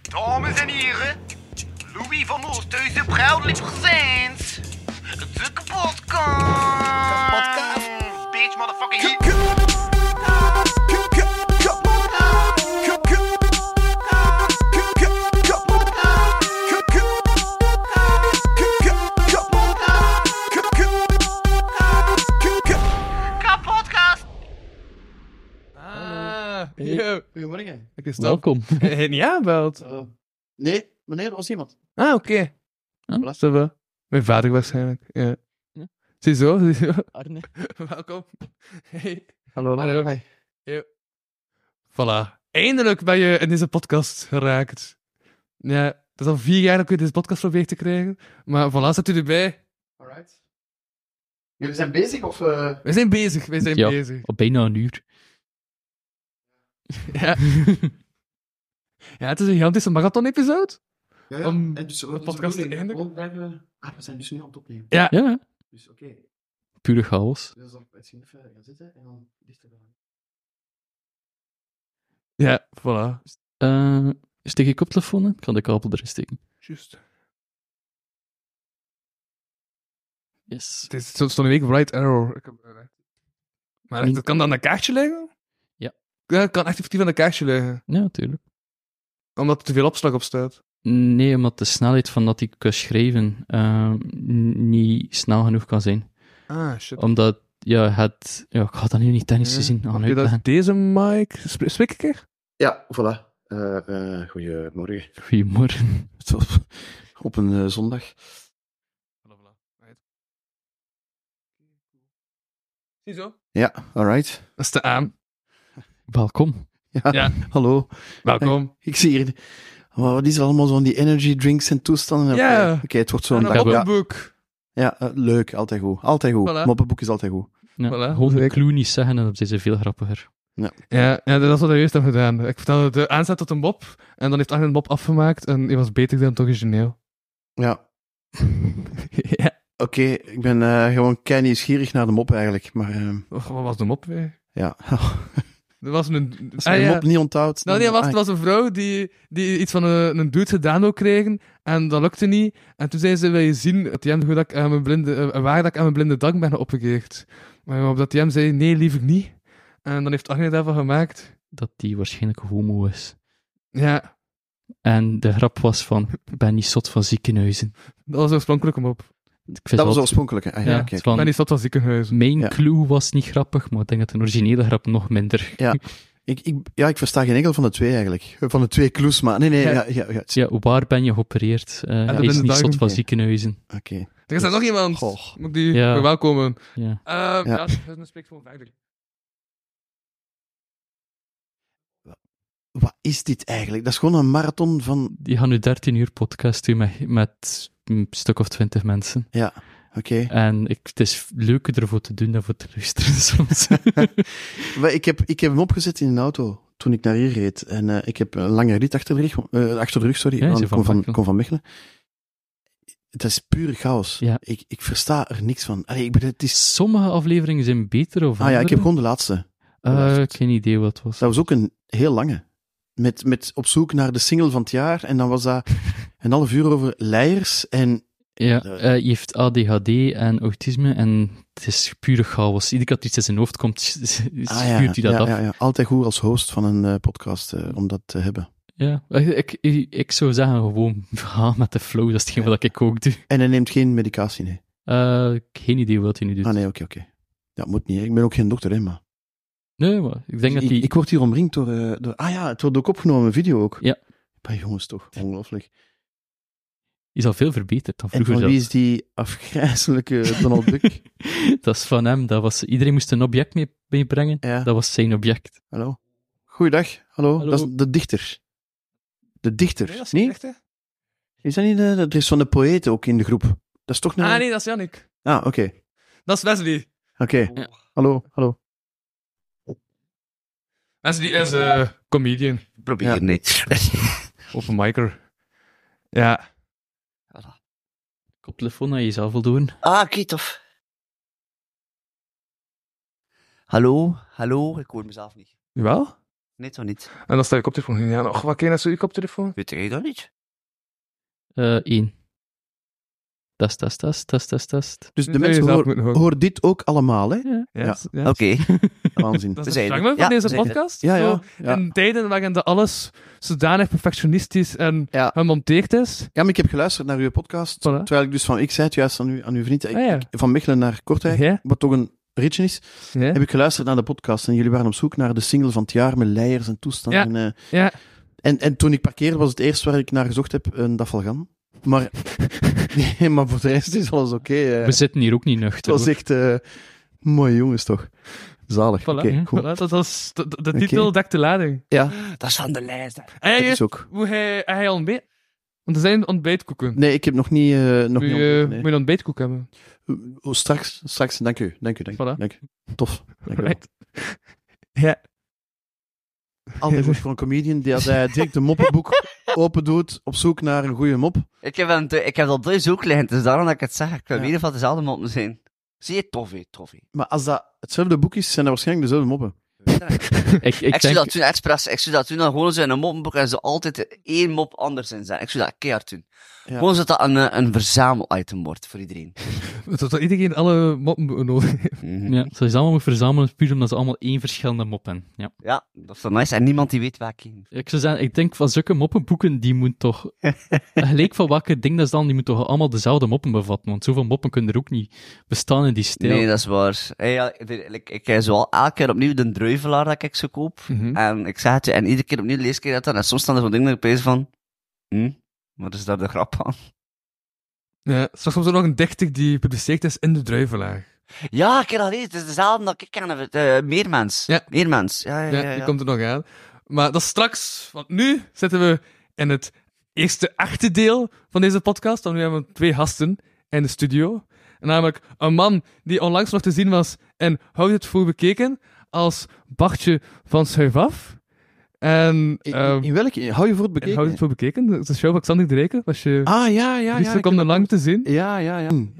Dames en heren, Louis van Oosthuizen, proudly presents de kapotkast. Kapotkast. Bitch, motherfucking hit. Kapotkast. Ah, yo. Goedemorgen. Oké, stop. Welkom. En ja, belt. Eh, nee, meneer, er was iemand. Ah, oké. Huh? Ça va. Mijn vader waarschijnlijk. Ja. Ja. Ziezo, ziezo. Arne. Welkom. Hey. Hallo. Hallo. Voilà. Eindelijk ben je in deze podcast geraakt. Ja, het is al vier jaar dat ik deze podcast probeer te krijgen. Maar voilà, zit u erbij. Alright. Jullie zijn bezig of... eh, We zijn bezig, we zijn Ja. bezig. Al bijna een uur. Ja. ja, het is een gigantische marathon-episode. Ja, Om dus de podcast te eindigen? Ah, we zijn dus nu aan het opnemen. Ja. Ja, Dus oké. pure chaos. Dus dan misschien even gaan zitten en dan dichter gaan. Ja, voilà. Eh steek je koptelefoon in? Ik kan de kabel erin steken. Juist. Yes. Het is zo- zo'n week right error. Ik heb, eh, Maar echt, het kan dan een kaartje liggen? Ja. Ja, het kan echt effectief aan een kaartje liggen. Ja, natuurlijk. Omdat er te veel opslag op staat. Nee, omdat de snelheid van dat ik kan schrijven eh, n- niet snel genoeg kan zijn. Ah, shit. Omdat, ja, het... Ja, ik ga dat nu niet technisch Ja. gezien aan Oké, dat is uitleggen. deze mic. Sp- Spreek ik er? Ja, voilà. Eh eh, goedemorgen. Goedemorgen. Op een eh, zondag. Ziezo. Ja, alright. Dat staat aan. Welkom. Ja, Ja. hallo. Welkom. Ik zie hier... maar Wat is er allemaal zo aan die energy drinks en toestanden? Ja. Oké, het wordt Zo'n zo'n een dag. Ja, moppenboek. ja eh, leuk. Altijd goed. Altijd goed. Voilà. Moppenboek is altijd goed. Ja, Voilà, gewoon de zeker. clue niet zeggen en dat is veel grappiger. Ja, ja, dat is wat hij juist heeft gedaan. Ik vertelde de aanzet tot een mop. En dan heeft Arne een mop afgemaakt. En die was beter dan het origineel. Ja, ja. Oké, ik ben eh, gewoon kei nieuwsgierig naar de mop eigenlijk. Maar ehm, Och, wat was de mop weer? ja, Er was een... als je Ah, de ja. mop niet onthoudt... Nou, dan- nee, was, ah, het was een vrouw die, die iets van een, een dude gedaan ook kregen. En dat lukte niet. En toen zei ze: Wil je zien dat Jem, hoe dat ik aan mijn blinde, eh, waar dat ik aan mijn blinde dank ben opgekeerd? Maar op dat Jem zei: Nee, liever niet. En dan heeft Agne daarvan gemaakt. Dat die waarschijnlijk homo is. Ja, En de grap was van, ik ben niet zot van ziekenhuizen. dat was oorspronkelijk hem op. Ik vind dat was altijd- oorspronkelijk. hè? Ah, ja, Ja, kijk. van, Maar die zat van ziekenhuizen. Mijn Ja. clue was niet grappig, maar ik denk dat de originele grap nog minder. Ja. Ik, ik, ja, ik versta geen enkel van de twee eigenlijk. Eh, Van de twee clues, maar... Nee, nee, Ja. ja, ja, ja, het- Ja, waar ben je geopereerd? dat Eh hij is ben niet ik zot niet. van ziekenhuizen. Oké. Er is daar nog iemand. Goh. Moet ik die Ja. verwelkomen? Ja. Eh, ja, dat spreekt gewoon verder. Wat is dit eigenlijk? Dat is gewoon een marathon van... Die gaan nu 13 uur podcast doen met, met een stuk of 20 mensen. Ja, oké. En ik, het is leuker ervoor te doen dan voor te luisteren soms. Maar Ik, heb, ik heb hem opgezet in een auto toen ik naar hier reed. En eh, ik heb een lange rit achter de rug, eh, achter de rug sorry. Ja, is want er van ik kom van, Mechelen. kom van Mechelen. Het is puur chaos. Ja. Ik, ik versta er niks van. Allee, ik bedoel, het is... Sommige afleveringen zijn beter of Ah ja, ik heb andere. gewoon de laatste. Eh, geen idee wat het was. Dat was ook een heel lange. Met, met op zoek naar de single van het jaar. En dan was dat een half uur over leiers. En Ja, Dat- eh, je heeft ADHD en autisme en het is pure chaos. Iedere keer dat iets in zijn hoofd komt, spuurt ah, ja, hij dat ja, af. Ja, ja. altijd goed als host van een eh, podcast eh, om dat te hebben. Ja, Eh, ik, ik, ik zou zeggen gewoon ga met de flow, dat is hetgeen wat ik ook doe. En hij neemt geen medicatie, nee. Eh, geen idee wat hij nu doet. Ah nee, oké, oké. Dat moet niet. hè. Ik ben ook geen dokter, hè, maar... Nee, maar ik denk dat Dus ik, hij... ik word hier omringd door, eh, door... Ah ja, het wordt ook opgenomen, een video ook. Ja. Maar jongens, toch, ongelooflijk. is al veel verbeterd dan En vroeger. van zelf. wie is die afgrijzelijke Donald Duck? dat is van hem. Dat was, iedereen moest een object mee, meebrengen. Ja, Dat was zijn object. hallo. Goeiedag, hallo. Hallo. Dat is de dichter. De dichter, Nee, dat is nee? echt, hè? Is dat niet de, dat is van de poëten ook in de groep? Dat is toch een... Ah, nee, dat is Jannik. Ah, oké. Dat is Wesley. Oké. Ja. Hallo, hallo. Wesley is eh comedian. Probeer Ja. niet. Open micer. Ja. Koptelefoon aan jezelf wil doen. Ah, Kitov. Hallo, hallo, ik hoor mezelf niet. Jawel? Nee, toch niet? En dan staat je koptelefoon in. Ja, och, wat ken je zo je koptelefoon? Weet jij dat niet? Eh, één. Test, test, test, test, test, test. Dus de Nee, mensen zelf horen moeten horen. horen dit ook allemaal, hè? Ja. Oké. Waanzin. Dat We is het zijn er. fragment van Ja, deze zeker. podcast. Ja, Zo, ja. ja. In tijden waarin de alles zodanig perfectionistisch en Ja. gemonteerd is. Ja, maar ik heb geluisterd naar uw podcast. Voilà. Terwijl ik dus van, ik zei het juist aan, u, aan uw vriend, ik- Ah, ja. ik- van Mechelen naar Kortrijk, Ja. wat toch een ritje is, Ja. heb ik geluisterd naar de podcast. En jullie waren op zoek naar de single van het jaar met leiders en toestanden. Ja. En, eh, Ja. en, en toen ik parkeerde was het eerst waar ik naar gezocht heb, een Dafalgan. Maar, nee, maar voor de rest is alles oké. eh. We zitten hier ook niet het nuchter. was hoor. echt eh, mooie jongens toch. Zalig. Voilà. Hm. Oké, Ja. goed. Voilà, dat was, de, de- de titel dekt de lading. Ja, Dat is van de lijst. hè. En dat je, is ook. hoe hij, hij al ontbijt? Want er zijn ontbijtkoeken. Nee, ik heb nog niet... eh, nog Moet niet je, ontdekt, moet nee. je een ontbijtkoek hebben. Oh, straks, straks. Dank u. Dank u, dank u. Voilà. Dank u. Tof. Dank u wel. Right. Ja. Altijd goed voor een comedian die als hij direct een moppenboek open doet, op zoek naar een goede mop. Ik heb, een, ik heb dat op de zoek liggen, dus daarom dat ik het zeg. Ik wil Ja. in ieder geval dezelfde moppen zijn. Zie je, toffee, toffee. Maar als dat hetzelfde boek is, zijn dat waarschijnlijk dezelfde moppen. Ik, ik Ik, zou dat denk, toen expres. Ik zou dat toen dan gewoon zo in een moppenboek en ze altijd één mop anders in zijn. Ik zou dat keihard doen. Ja. Gewoon zodat dat een, eh, een verzamelitem wordt voor iedereen. Zodat iedereen alle moppen nodig heeft. Mhm. ja, ze is allemaal moet verzamelen puur omdat ze allemaal één verschillende mop hebben. Ja. Ja, dat is dan nice. En niemand die weet waar ik heen. Ik zou zeggen, ik denk van zulke moppenboeken, die moet toch... gelijk van welke ding dat is dan, die moet toch allemaal dezelfde moppen bevatten, want zoveel moppen kunnen er ook niet bestaan in die stijl. Nee, dat is waar. Hey, ja, de- ik, ik krijg zo al elke keer opnieuw de druivelaar dat ik zo koop. Mhm. En ik zeg het je, en iedere keer opnieuw lees ik dat dan. En soms staan er zo'n dingen dat ik opeens van... Hm, wat is daar de grap aan? Ja, straks komt er nog een dichter die gepubliceerd is in de druivelaar. Ja, ik heb dat gelezen. Het is dezelfde dat ik ken. eh meermens. Ja. Meermens. Ja, ja, Ja, ja. ja. die komt er nog aan. Maar dat is straks, want nu zitten we in het eerste echte deel van deze podcast. Want nu hebben we twee gasten in de studio. Namelijk een man die onlangs nog te zien was en houdt het voor bekeken als Bartje van Schuivaf. En In, ehm, in welke? Hou je voor en het bekeken? houdt het voor bekeken. Dat is een show van Xander de Rijken. Was je Ah, ja, ja, ja. gisteren Ik, kwam er lang te zien. ja, ja, ja. Hmm.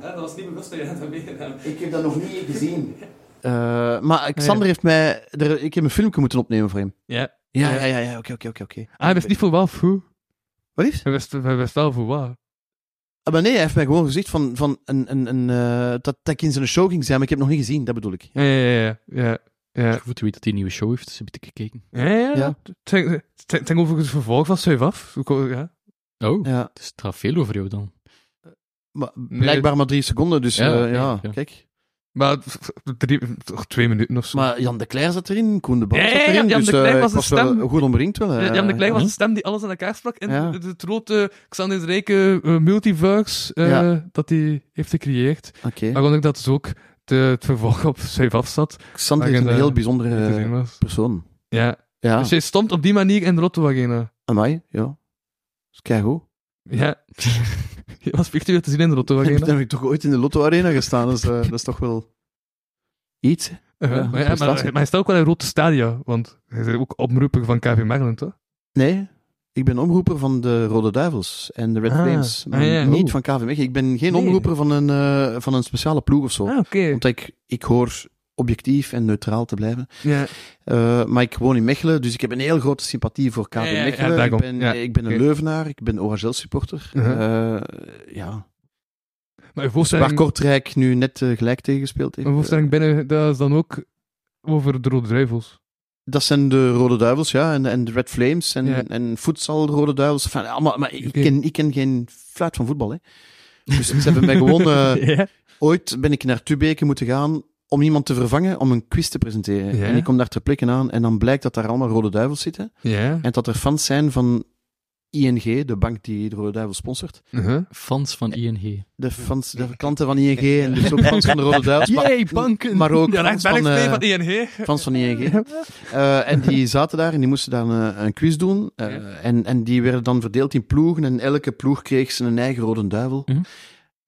dat was niet bewust dat je dat meegedaan Ik heb dat nog niet gezien. Eh, Ah, maar Xander heeft mij... Er, ik heb een filmpje moeten opnemen voor hem. Ja. Ja, ja, ja, ja. Oké, oké, oké. oké. Ah, hij wist niet voor wat of hoe. Wat is? Hij wist, hij wist wel voor wat. Ah, maar nee, hij heeft mij gewoon gezegd van, van een, een, een, eh, dat, dat ik in zijn show ging zijn, maar ik heb het nog niet gezien. Dat bedoel ik. Ja, ja, ja. ja. ja. Ik voel te weten dat hij een nieuwe show heeft, dus heb ik gekeken. Ja, ja. Ja. ja. Het zijn- Het zijn- het zijn overigens een vervolg van Save Af. Ja. Oh, Ja. dus het gaat veel over jou dan. Maar blijkbaar maar drie seconden, dus Ja, eh, oké, ja, oké. kijk. Maar v- v- drie, toch twee minuten of zo. Maar Jan de Cler zat erin, Koen de Bal Ja, ja, zat ja, erin, Jan dus de Cler eh, was ik de wel stem. goed omringd wel. eh. Jan de Klein was ja. de stem die alles aan elkaar sprak. En Ja. het grote Xander de Rijke eh, multiverse eh, Ja. dat hij heeft gecreëerd. Oké, Waaronder dat dus ook de, het vervolg op Save Af zat. Xander Maar is een ik, eh, heel bijzondere die te zien eh, was. persoon. Ja. Ja, Dus hij stond op die manier in de Lotto Arena. amai, ja. Dat is keigoed. Ja. Je was virtueel te zien in de Lotto Dan Arena. heb ik toch ooit in de Lotto Arena gestaan, dus eh, dat is toch wel iets. hè? Eh, Ja, maar, ja, maar, prestatie. maar hij staat ook wel in Rote Stadia. Want hij is ook omroeper van KV Mechelen, toch? Nee, ik ben omroeper van de Rode Duivels en de Red Ah, Flames, maar ah, ja. niet Oeh. van KV Mechelen. Ik ben geen Nee. omroeper van een, eh, van een speciale ploeg of zo, Ah, oké. omdat ik, ik hoor objectief en neutraal te blijven. Ja. Eh, maar ik woon in Mechelen, dus ik heb een heel grote sympathie voor KV Ja, ja, ja, Mechelen. ik, daarom. ben, eh, Ja, ik ben een oké. Leuvenaar, ik ben OHL-supporter. Mhm. Eh, ja. Maar je Waar voorstelling, Kortrijk nu net eh, gelijk tegengespeeld heeft. een voorstelling binnen, dat is dan ook over de Rode Druivels. dat zijn de Rode Duivels, ja, en, en de Red Flames en, Ja. en Futsal Rode Duivels. Enfin, allemaal, maar ik, Oké. ken, ik ken geen fluit van voetbal, hè. Dus ze hebben mij gewoon... eh, Ja. Ooit ben ik naar Tubeke moeten gaan om iemand te vervangen om een quiz te presenteren. Ja. En ik kom daar ter plekke aan en dan blijkt dat daar allemaal Rode Duivels zitten. Ja. En dat er fans zijn van ING, de bank die de Rode Duivel sponsort. Uh-huh. Fans van ING. De, fans, de klanten van ING en dus ook fans van de Rode Duivels. maar- banken! Maar ook Ja, daar fans, ben ik van, mee eh, van ING. fans van ING. Eh, en die zaten daar en die moesten daar een, een quiz doen. Eh, Ja. en, en die werden dan verdeeld in ploegen en elke ploeg kreeg zijn eigen Rode Duivel. Mhm.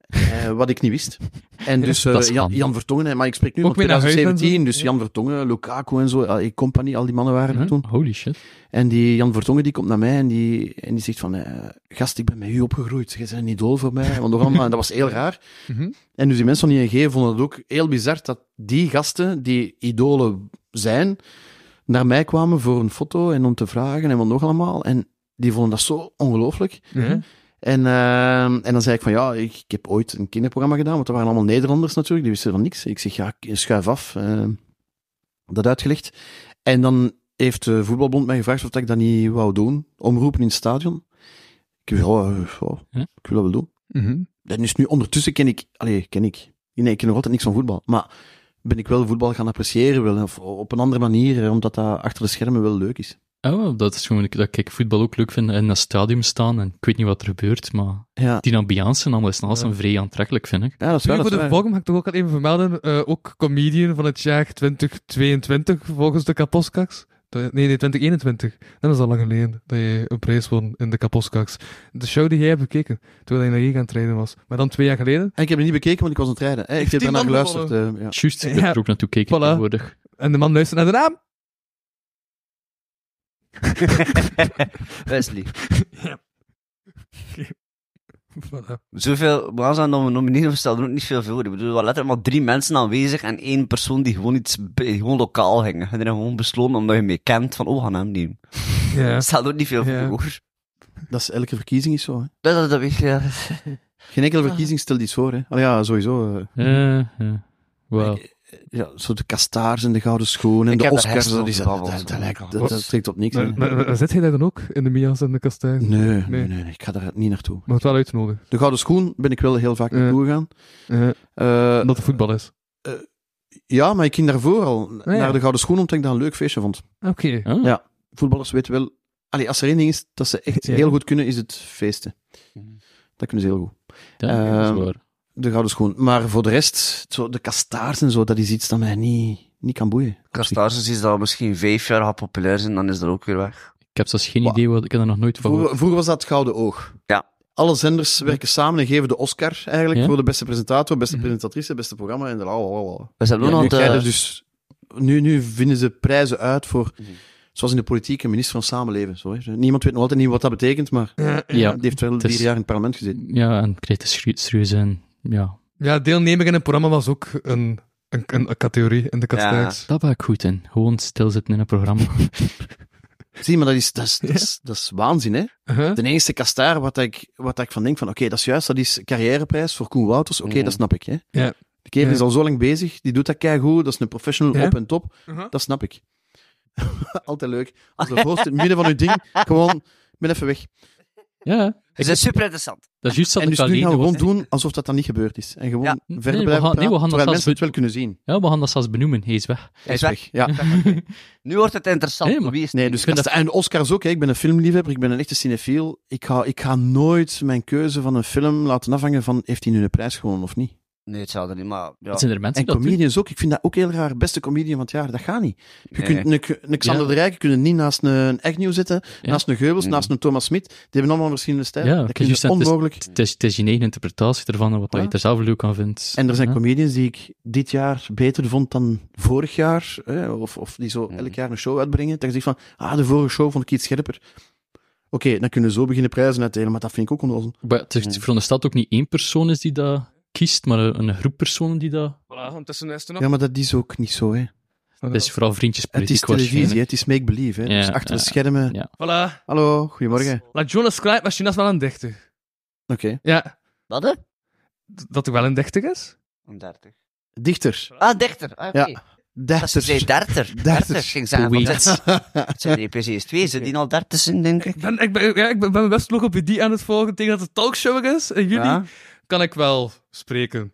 Eh, wat ik niet wist. En dus eh, dat is Jan, handig. Jan Vertongen, hè, maar ik spreek nu Ook van weer naar huis en zo. 2017, dus Ja. Mhm. Jan Vertongen, Lukaku en zo, eh, ik compagnie, al die mannen waren er toen. Holy shit. En die Jan Vertongen die komt naar mij en die, en die zegt van, eh, gast, ik ben met u opgegroeid. Jij bent een idool voor mij. Want nog allemaal, en dat was heel raar. Mhm. En dus die mensen van ING vonden het ook heel bizar dat die gasten, die idolen zijn, naar mij kwamen voor een foto en om te vragen en wat nog allemaal. En die vonden dat zo ongelooflijk. Ja. En, ehm, en dan zei ik van ja, ik, ik heb ooit een kinderprogramma gedaan, want dat waren allemaal Nederlanders natuurlijk, die wisten van niks. Ik zeg ja, ik schuif af. ehm, dat uitgelegd. En dan heeft de voetbalbond mij gevraagd of dat ik dat niet wou doen, omroepen in het stadion. Ik zei ja, eh, ja, Ja. ik wil dat wel doen. Mhm. En dus nu ondertussen ken ik, allee, ken ik, nee, ik ken nog altijd niks van voetbal, maar ben ik wel voetbal gaan appreciëren, wel, of op een andere manier, eh, omdat dat achter de schermen wel leuk is. Oh, dat is gewoon dat ik voetbal ook leuk vind en in een stadion staan en ik weet niet wat er gebeurt, maar Ja, die ambiance en alles en alles Ja. zijn vrij aantrekkelijk, vind ik. ja dat is Nu waar. voor Dat is de waar. volgende mag ik toch ook al even vermelden, eh, ook comedian van het jaar 2022, volgens de Kaposkaks. Nee, nee, 2021. Dat is al lang geleden dat je een prijs won in de Kaposkaks. De show die jij hebt bekeken, toen je naar hier gaan trainen was. Maar dan twee jaar geleden. En ik heb het niet bekeken, want ik was aan het rijden. hè. Ik Heeft heb die daarna man geluisterd. eh, ja. Juist, ik Ja. ben er ook naartoe kijken Voilà. tegenwoordig. En de man luistert naar de naam. Wesley. Voilà. Zoveel was aan nom- nomineren verstelde ook niet veel voor. Ik bedoel, er waren letterlijk maar drie mensen aanwezig en één persoon die gewoon iets be- gewoon lokaal ging. En die hebben gewoon besloten omdat je mee kent van, oh, we gaan hem nemen. Ja. Er staat ook niet veel Ja. voor. Dat is elke verkiezing is zo. Hè. Dat, dat, dat weet je. ja. Geen enkele Ah. verkiezing stelt iets voor. Hè. Allee, ja, sowieso. Mhm. eh, Eh, eh. Wauw. ja, zo de kastaars en de gouden schoenen en Ik de heb daar Oscars. hersenen Dat, is, over dat, dat, gebabbeld. dat lijkt, dat, dat trekt op niks. hè. Maar, maar, maar zit jij daar dan ook? In de Mia's en de kastijn? Nee, nee, Nee. nee, nee, ik ga daar niet naartoe. Maar het wel uitnodigen. De gouden schoen ben ik wel heel vaak Ja. naartoe gegaan. Eh Eh, omdat het voetbal is. ja, maar ik ging daarvoor al n- Oh, ja. naar de gouden schoen omdat ik dat een leuk feestje vond. Oké. Ah, Ja. Voetballers weten wel... Allee, als er één ding is dat ze echt Ja. heel goed kunnen, is het feesten. Dat kunnen ze heel goed. ja, dat is Ehm, waar. De gouden schoen. Maar voor de rest, zo, de kastaars en zo, dat is iets dat mij niet, niet kan boeien. Castarsens is dat misschien vijf jaar gaat populair zijn, dan is dat ook weer weg. Ik heb zelfs geen Wa- idee, wat, ik heb er nog nooit van gehoord. Vroeger, vroeger was dat het gouden oog. Ja. Alle zenders werken samen en geven de Oscar eigenlijk Ja. voor de beste presentator, beste Mhm. presentatrice, beste programma en de lalala. We zijn Ja, ook nu, nog eh, krijgen de... ze dus, nu, nu vinden ze prijzen uit voor, Mhm. zoals in de politiek, een minister van Samenleven. Zo, hè. Niemand weet nog altijd niet wat dat betekent, maar Ja, die heeft wel het is- vier jaar in het parlement gezeten. ja, en krijgt de serie- serieus en ja, Ja, deelnemer in het programma was ook een, een, een, een categorie in de kastijns. daar ben ik goed in. Gewoon stilzitten in een programma. Zie, maar dat is, dat is, dat is, dat is waanzin, hè? Uh-huh. De enige kastaar wat ik, wat ik van denk van, oké, dat is juist, dat is carrièreprijs voor Koen Wouters. Oké, Mhm. dat snap ik, hè? Ja. De Kevin Ja. is al zo lang bezig, die doet dat keigoed, dat is een professional Ja. op en top. Uh-huh. Dat snap ik. Altijd leuk. Als de host in het midden van uw ding gewoon ben even weg. ja, Het is super interessant. dat is juist dat en ik dus nu alleen gaan we was. gewoon doen alsof dat dan niet gebeurd is. En gewoon Ja. Nee, verder we blijven gaan- nee, we gaan praten, dat terwijl zelfs mensen het wel kunnen zien. Ja, we gaan dat zelfs benoemen. Hij is weg. Hij is Is weg. Ja. Nu wordt het interessant. Nee, maar- Wie is het? Nee, dus vind kasta- En de Oscars ook, hè. ik ben een filmliefhebber, ik ben een echte cinefiel. Ik ga, ik ga nooit mijn keuze van een film laten afhangen van heeft hij nu een prijs gewonnen of niet. Nee, hetzelfde niet, maar... Ja. Het zijn er mensen En die dat doen. comedians ook, ik vind dat ook heel raar. Beste comedian van het jaar, dat gaat niet. Je Nee. kunt een, een Xander Ja. de Rijken kunnen niet naast een Agnew zitten, Ja. naast een Geubels, Mm. naast een Thomas Smit. Die hebben allemaal verschillende stijlen. Ja, dus dat oké, kun je juist, dat is- onmogelijk... Het is, het is je eigen interpretatie ervan en wat dat je Ja. er zelf leuk aan vindt. En er zijn Ja. comedians die ik dit jaar beter vond dan vorig jaar, hè, of, of die zo Mm. elk jaar een show uitbrengen. Dat je zegt van, ah, de vorige show vond ik iets scherper. Oké, dan kunnen we zo beginnen prijzen uitdelen, maar dat vind ik ook onnozel. Maar het is Hmm. verondersteld ook niet één persoon is die dat kiest, maar een, een groep personen die dat... Voilà, ondertussen is het Ja, dus- maar dat is ook niet zo, hè. Het is vooral Het is vriendjespolitiek televisie, hè, waarschijnlijk. het is make-believe, hè. Ja, dus achter de ja, schermen... ja. Voilà. Hallo, goedemorgen. La Jonas Krijtmachine is wel een dichter. Oké. Ja, Wat, hè? d- dat hij wel een dichter is? Een dertig. Dichter. Ah, dichter. Ah, oké. Ja. Dat ze zei Dertig. dertig. Dertig, ging zeggen. Oei. van, dat- Het zijn er precies twee, ze die al dertig zijn, denk ik. Ik ben, ik ben, ja, ik ben, ben best logopedie aan het volgen tegen dat het talkshow is. In juli Ja. kan ik wel spreken.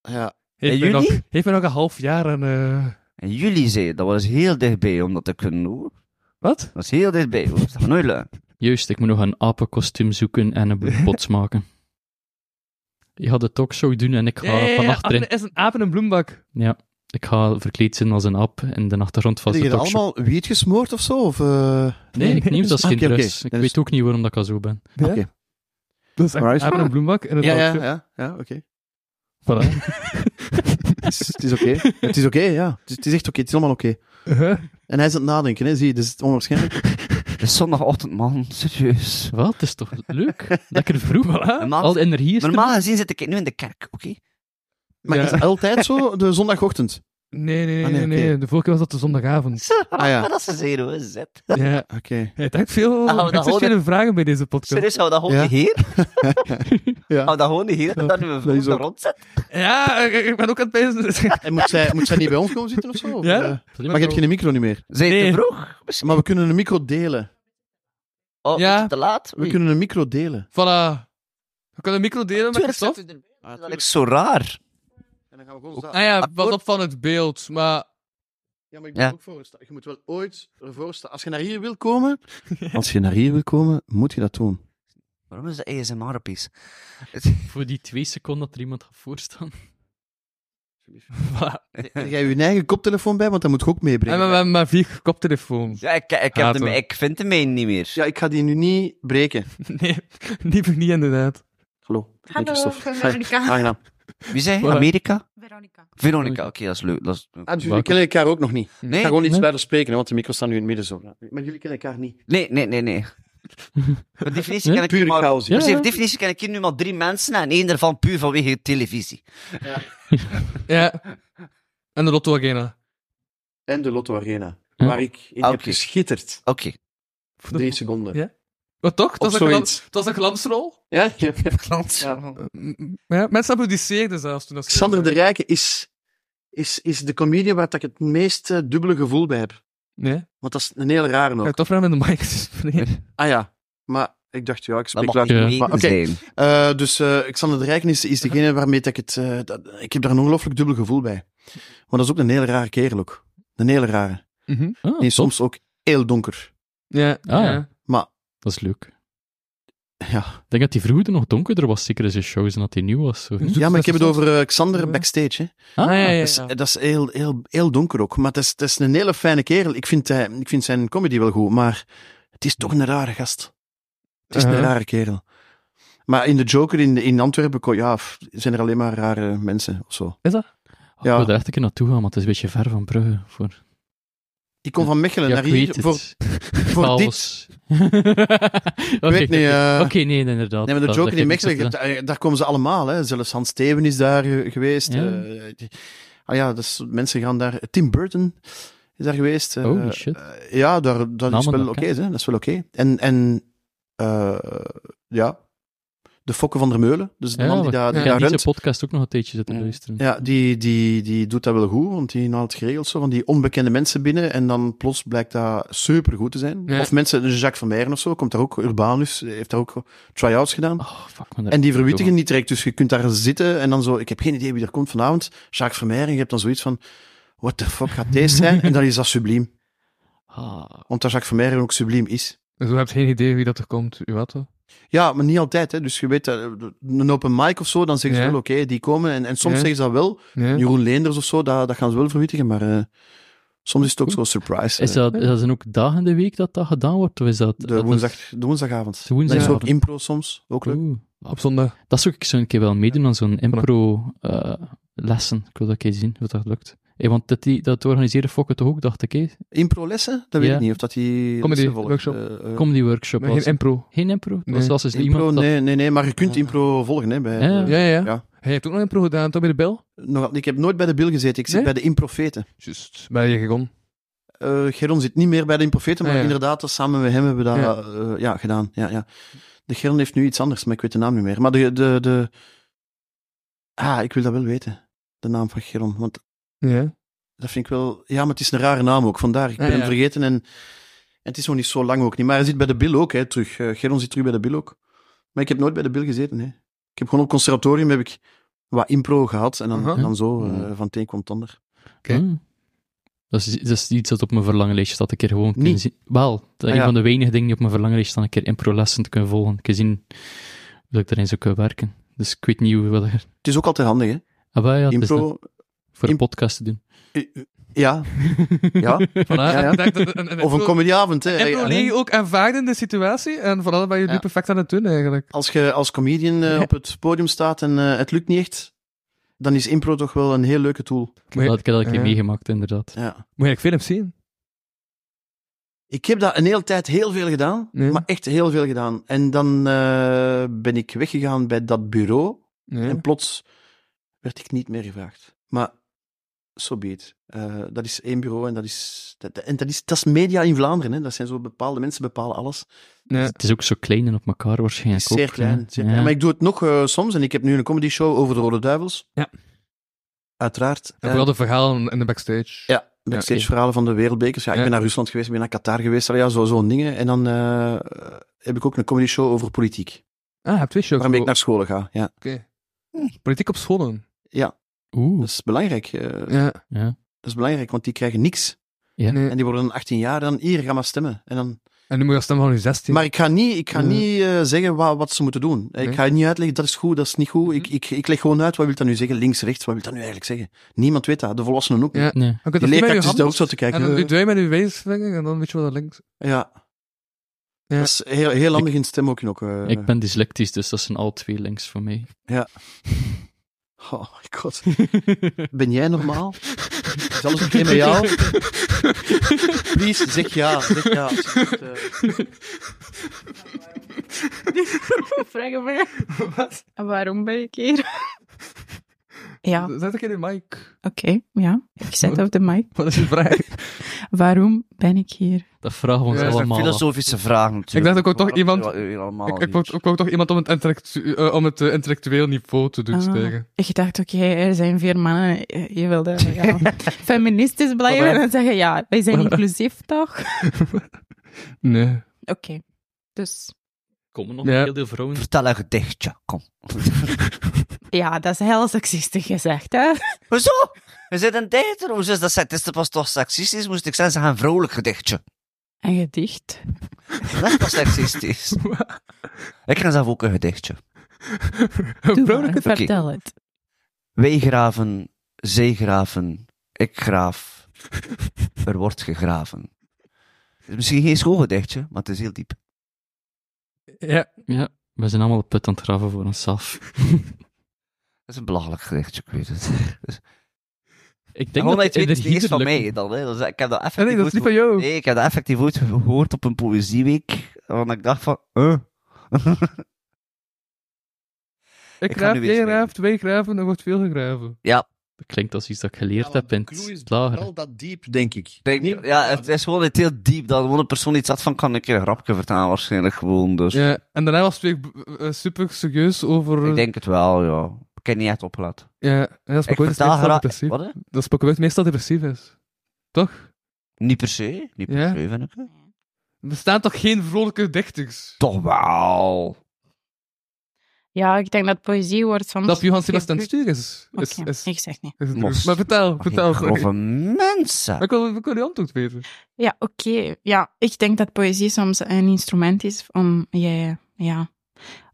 Ja. Heeft, In mij, juli? nog, heeft mij nog een half jaar en... eh, En jullie zei, dat was heel dichtbij om dat te kunnen hoor. Wat? Dat was heel dichtbij hoor. Dat gaat nooit lukken. Juist, ik moet nog een apenkostuum zoeken en een bloempots maken. Je gaat de talkshow doen en ik ga Nee, van achterin... ah, Apen is een aap in een bloembak. Ja, ik ga verkleed zijn als een aap in de achtergrond van Heb de je er talkshow. allemaal wiet gesmoord of zo? Of, eh, Nee, dus- ik neem dat Ah, geen oké, oké. drugs. Ik Dan is- weet ook niet waarom dat ik al zo ben. Ja? Oké. Dat is echt Alright. een aap in een bloembak in het Ja, ja, talkshow. ja, ja oké. Voilà. Het is- Het is oké. Het is oké, ja. Het is- Het is echt oké. Het is allemaal oké. Uh-huh. En hij is aan het nadenken, hè? Zie je, dat is onwaarschijnlijk. Het is zondagochtend man, serieus. Wat? Het is toch leuk? Lekker vroeg. Ah, Normaal- Al de energie is er. Normaal gezien zit ik nu in de kerk, oké? Maar Ja. is het altijd zo, de zondagochtend? Nee, nee, nee. Ah, nee, nee, nee. oké. De vorige keer was dat de zondagavond. Ah ja, Dat is een zero, zet. ja. oké. Het heeft veel Ah, we het dat is horen. vele vragen bij deze podcast. Serieus, hou dat gewoon Ja. niet hier? Ja. Hou dat gewoon niet hier? En dan nu dat is we ook- rond zet? Ja, ik, ik ben ook aan het bezig. En moet zij, moet zij niet bij ons komen zitten of zo? Of, Ja? eh, maar je hebt geen micro niet meer. Zijn je Nee. te vroeg? Misschien. Maar we kunnen een micro delen. Oh, Ja. is het te laat? We kunnen een micro delen. Voilà. We kunnen de micro delen met Ah, Tuurlijk, Christophe. zet u erbij. Dat is zo raar. En dan gaan we gewoon Ah ja, wat op van het beeld. Maar Ja, maar ik ben Ja. ook voor Je moet wel ooit ervoor staan. Als je naar hier wil komen... Als je naar hier wil komen, moet je dat doen. Waarom is dat ASMR opeens? Voor die twee seconden dat er iemand gaat voorstaan. Heb jij je eigen koptelefoon bij, want dat moet je ook en we meebrengen. hebben maar vier koptelefoons. Ja, ik, ik, heb Haat de, hem. ik vind de mijn niet meer. Ja, ik ga die nu niet breken. Nee, liever niet inderdaad. Hallo. ik ben Hallo, Christophe. ik ben Hi. Veronica. Aangenaam. Wie zei je? Voilà. Amerika? Veronica. Veronica, oké, dat is leuk. Dat is... Ah, dus jullie kennen elkaar ook nog niet. Ik Nee, ga gewoon iets Nee. verder spreken, hè, want de micro's staan nu in het midden zo. Maar jullie kennen elkaar niet. nee, nee, nee. nee. Per definitie Ja, ken ik hier Pure maar... chaos. hier. Ja. Dus per definitie ken ik hier nu maar drie mensen en één daarvan puur vanwege televisie. Ja. En de Lotto Arena. En de Lotto Arena, Ja. waar ik in Ah, heb oké. geschitterd. Oké. Drie seconden. Ja. Maar toch, het Of was, een, glans, zoiets. het was een glansrol. Ja? ja. Ja. Ja, mensen applaudisseerden zelfs toen dat ze- Xander de Rijke is, is, is de comedian waar ik het meest eh, dubbele gevoel bij heb. Nee, Want dat is een heel rare ga je nog. toch vragen met de mic te spreken. Ah ja, maar ik dacht, ja, ik Dat spreek mag niet later. Ja. mee Maar oké. zijn. Eh, dus eh, Xander de Rijken is, Mhm. is degene waarmee dat ik het... eh, dat- ik heb daar een ongelooflijk dubbel gevoel bij. Want dat is ook een hele rare kerel ook. Een hele rare. Mhm. Ah, Die is soms ook heel donker. Ja, Ah, ja. ja. Dat is leuk. Ja, Ik denk dat die vroeger nog donkerder was, zeker in zijn shows, dan dat hij nieuw was. Zo. Hm? ja maar ik heb het over eh, Xander Ja. backstage. Hè. Ah, Ah, ja, ja, Dat is, eh, ja. dat is heel, heel, heel donker ook. Maar het is, het is een hele fijne kerel. Ik vind, hij, ik vind zijn comedy wel goed, maar het is toch een rare gast. Het is Uh-huh. een rare kerel. Maar in de Joker in, in Antwerpen kon- ja, f- zijn er alleen maar rare mensen of zo. Oh, Ik Ja. wil daar echt een keer naartoe gaan, want het is een beetje ver van Brugge. Voor... Ik kom van Mechelen Ja, naar ik hier weet het. voor, voor dit. Chaos. Oké, Ik weet niet. eh, Oké, nee, inderdaad. nee, maar de Dat- Joker dat in geeft niks Mechelen, af te daar- daar komen ze allemaal. Hè. Zelfs Hans Steven is daar eh, geweest. Ja. eh, die- ah ja, dus mensen gaan daar. Tim Burton is daar geweest. eh, Holy shit. eh, ja, daar, dat is Namen wel ook, oké. hè. dat is wel oké. En, en eh, ja, de Fokke van der Meulen, dus de Ja, man die wat- daar, die Ik heb daar deze runt. podcast ook nog een tijdje zitten Ja. luisteren. Ja, die, die, die doet dat wel goed, want die haalt geregeld zo van die onbekende mensen binnen en dan plots blijkt dat supergoed te zijn. Ja. Of mensen, dus Jacques Vermeijren of zo, komt daar ook, Urbanus heeft daar ook try-outs gedaan. Oh, fuck man. En die verwittigen Zo. niet direct, dus je kunt daar zitten en dan zo, ik heb geen idee wie er komt vanavond, Jacques Vermeijren, je hebt dan zoiets van, what the fuck gaat deze zijn? En dan is dat subliem, Ah, omdat Jacques Vermeijren ook subliem is. Dus we hebben geen idee wie dat er komt. U wat? wel? Ja, maar niet altijd. Hè. Dus je weet, eh, een open mic of zo, dan zeggen ze Ja. wel, oké, die komen. En, en soms Ja. zeggen ze dat wel. Ja. Jeroen Leenders of zo, dat, dat gaan ze wel verwittigen. Maar eh, soms is het ook zo'n surprise. is eh. dat, is dat dan ook dagen in de week dat dat gedaan wordt? Of is dat... dat de, is- woensdag, de woensdagavond. De Dan is er ook woensdagavond. impro soms. Ook leuk. Oeh. Op zondag. Dat zou ik zo een keer wel meedoen aan zo'n impro-lessen. ik wil dat een keer zien, hoe dat lukt. Eh, want dat, die, dat organiseren fokken toch ook, dacht ik. hè? Impro-lessen? Dat weet Ja. ik niet. Of dat die Comedy lessen volgt. workshop. Eh, eh, Comedy workshop. Maar geen was. impro. Geen impro? Nee. Dat was als dus impro? iemand dat... Ah. Nee, nee, nee. Maar je kunt impro volgen. Hè, bij, Ja, ja. Ja, ja. Ja. ja. Hij heeft ook nog impro gedaan, toch bij de Bel? Nog, ik heb nooit bij de Bil gezeten. Ik zit Nee? bij de Improfeten. Juist. Bij je gegon. Eh Geron zit niet meer bij de Improfeten, maar Ah, ja. inderdaad, dat samen met hem hebben we dat Ja. eh, ja, gedaan. Ja, ja. De Geron heeft nu iets anders, maar ik weet de naam niet meer. Maar de, de, de... Ah, ik wil dat wel weten. De naam van Geron. Want Ja. dat vind ik wel... Ja, maar het is een rare naam ook. Vandaar, ik ben Ah, hem ja. vergeten en... en het is nog niet zo lang ook niet. Maar hij zit bij de Bill ook, hè, terug. Eh, Geron zit terug bij de Bill ook. Maar ik heb nooit bij de Bill gezeten, hè. Ik heb gewoon op conservatorium heb ik wat impro gehad. En dan, Aha. Mm. dan zo, eh, van het een komt het ander. Oké. Ah. Dat, is, dat is iets dat op mijn verlanglijstje staat, een keer gewoon kunnen Niet. zien. Wel, dat is Ah, ja. een van de weinige dingen die op mijn verlanglijstje staan, een keer impro-lessen te kunnen volgen. Een keer zien hoe dat ik daarin zou kunnen werken. Dus ik weet niet hoe we dat... Het is ook altijd handig, hè. Ah, wel, ja, het is dan voor Impro... een imp- podcast te doen. Ja, ja. Ja, ja. Ah, Ik denk dat een- Of een impro- comedyavond, hè. Impro liggen ook aanvaardende situatie. En vooral ben je nu Ja. perfect aan het doen, eigenlijk. als je als comedian eh, Ja. op het podium staat en eh, het lukt niet echt, dan is impro toch wel een heel leuke tool. Moet Dat, je, ik heb dat een keer Ja. meegemaakt, inderdaad. Ja. moet je eigenlijk films zien? Ik heb dat een hele tijd heel veel gedaan, Ja. maar echt heel veel gedaan. En dan eh, ben ik weggegaan bij dat bureau Ja. en plots werd ik niet meer gevraagd. Maar so be it. Eh, dat is één bureau en dat is, dat, dat- en dat is, dat is media in Vlaanderen. Hè. Dat zijn zo bepaalde mensen bepalen alles. Ja. Het is ook zo klein en op elkaar waarschijnlijk ook. zeer klein. hè. zeer Ja. klein. Maar ik doe het nog eh, soms en ik heb nu een comedy show over de Rode Duivels. Ja. Uiteraard. En Eh, vooral de verhalen in de backstage. Ja, backstage oké. verhalen van de wereldbekers. Ja, ik Ja. ben naar Rusland geweest, ik ben naar Qatar geweest, allee, ja, zo, zo'n dingen. En dan eh, heb ik ook een comedy show over politiek, Ah, je hebt twee shows. waarmee ik naar school ga. Ja, Oké. Politiek op scholen. Oeh. dat is belangrijk. eh, Ja. Ja. Dat is belangrijk, want die krijgen niks. Ja. Nee. En die worden dan 18 jaar, dan hier, ga maar stemmen. En dan... En nu moet je stemmen van je 16. Maar ik ga niet, ik ga Ja. niet eh, zeggen wat, wat ze moeten doen. Eh, Ik Nee. ga niet uitleggen, dat is goed, dat is niet goed. Ik, Mhm. ik, ik leg gewoon uit, wat wil dat nu zeggen? Links, rechts, wat wil dat nu eigenlijk zeggen? Niemand weet dat, de volwassenen ook Ja. niet. Nee. Je kunt Die dat niet met je leerkracht is daar ook hand. zo te En kijken. dan eh, doe je met je wijsvinger en dan weet je wat dat links. Ja. Ja. Dat is heel, heel handig in stem ook nog. eh. Ik ben dyslectisch, dus dat zijn al twee links voor mij. Oh my god. Ben jij normaal? Is alles oké met jou? Please, zeg ja. Zeg ja. alsjeblieft, eh. Vragen me. En waarom ben ik hier? Ja, oké, Zet ik in de mic. ja. Ik zet op de mic. Wat is je vraag? Waarom ben ik hier? Dat vragen we ons Ja, dat Dat zijn allemaal. af. filosofische vragen natuurlijk. dacht ook toch Wat iemand- wil u eh, allemaal Ik, ik, niet? wou, ik wou toch iemand om het, intellectu- eh, om het eh, intellectueel niveau te doen Ah. stijgen. Ik dacht, oké, er zijn vier mannen. eh, Je wilde ja, feministisch blijven Voilà. en zeggen, ja, wij zijn Voilà. inclusief, toch? Nee. Oké, dus Komen nog Ja. heel veel vrouwen. Vertel een gedichtje, kom. ja, dat is heel seksistisch gezegd, hè? Hoezo? We zitten een dater, hoezo is dat seksistisch? Dat was toch seksistisch? Moest ik zeggen, zeg een vrolijk gedichtje. Een gedicht. Dat is toch seksistisch? ik ga zelf ook een gedichtje. Doe Vrolijk maar, vertel het. Wij graven, zij graven, ik graaf, er wordt gegraven. Het is misschien geen schoon gedichtje, maar het is heel diep. Ja. Ja, we zijn allemaal de put aan het graven voor onszelf. Het is een belachelijk gedichtje, ik weet het. Dus, Ik denk gewoon dat dat je het de weet, het is reader van lukt. mij dan. Hè. Dus ik heb dat En effectief Ah, nee, dat is niet ooit van jou. geho- Nee, ik heb dat effectief ooit gehoord op een poëzieweek, want ik dacht van, eh. ik ik ga graaf, jij nu eens mee. graaft, wij graven, er wordt veel gegraven. Dat klinkt als iets dat ik geleerd heb in het lager. Wel dat diep, denk ik. Denk- Niet- ja, het is gewoon iets heel diep. Dat gewoon een persoon iets had van, kan ik je een grapje vertalen waarschijnlijk gewoon. Dus Ja. En daarna was het weer b- eh, super serieus over... ik denk het wel, ja. Ik heb niet echt opgelet. Ja, en dat is Ik ook meestal vertaal graag... depressief. Wat, hè? Dat spoken word meestal depressief is. Toch? Niet per se, niet per Ja. se, vind ik. Er bestaan toch geen vrolijke dichters? Toch wel. Ja, ik denk dat poëzie wordt soms... Dat is Johan Sebastian Stuur gebruikt- is. is, Oké, is, ik zeg niet. is het Mos. maar vertel, Maar vertel. geen sorry. grove Maar mensen. ik wil, ik wil je antwoord weten. Ja, oké. Ja, ik denk dat poëzie soms een instrument is om je, ja,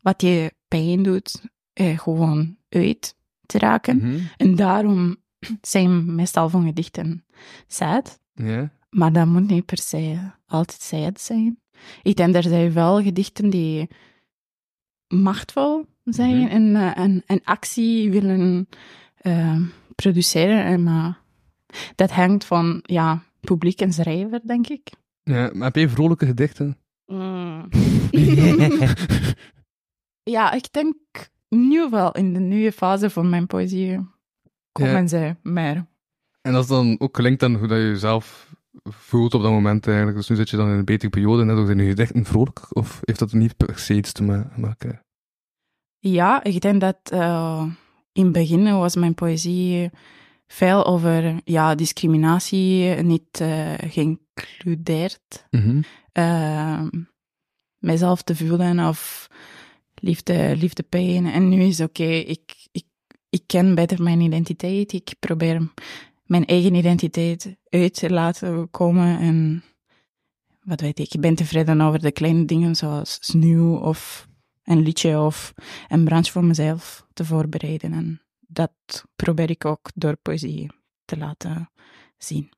wat je pijn doet, eh, gewoon uit te raken. Mhm. En daarom zijn meestal van gedichten sad, Ja. maar dat moet niet per se altijd sad zijn. Ik denk, er zijn wel gedichten die machtvol zijn Mhm. en, eh, en, en actie willen eh, produceren. En, maar dat hangt van, ja, publiek en schrijver, denk ik. ja. Maar heb je vrolijke gedichten? Mm. ja, ik denk nu wel in de nieuwe fase van mijn poëzie komen Ja. ze meer. En dat is dan ook gelinkt aan hoe dat je jezelf voelt op dat moment eigenlijk. Dus nu zit je dan in een betere periode en ook zijn je gedichten vrolijk? Of heeft dat niet per se iets te ma- maken? Ja, ik denk dat eh, in het begin was mijn poëzie veel over ja, discriminatie, niet eh geïncludeerd eh, mijzelf te voelen of liefde, liefde pijn. En nu is oké, ik, ik, ik ken beter mijn identiteit. Ik probeer mijn eigen identiteit uit te laten komen. En wat weet ik, ik ben tevreden over de kleine dingen zoals sneeuw of een liedje of een branche voor mezelf te voorbereiden. En dat probeer ik ook door poëzie te laten zien.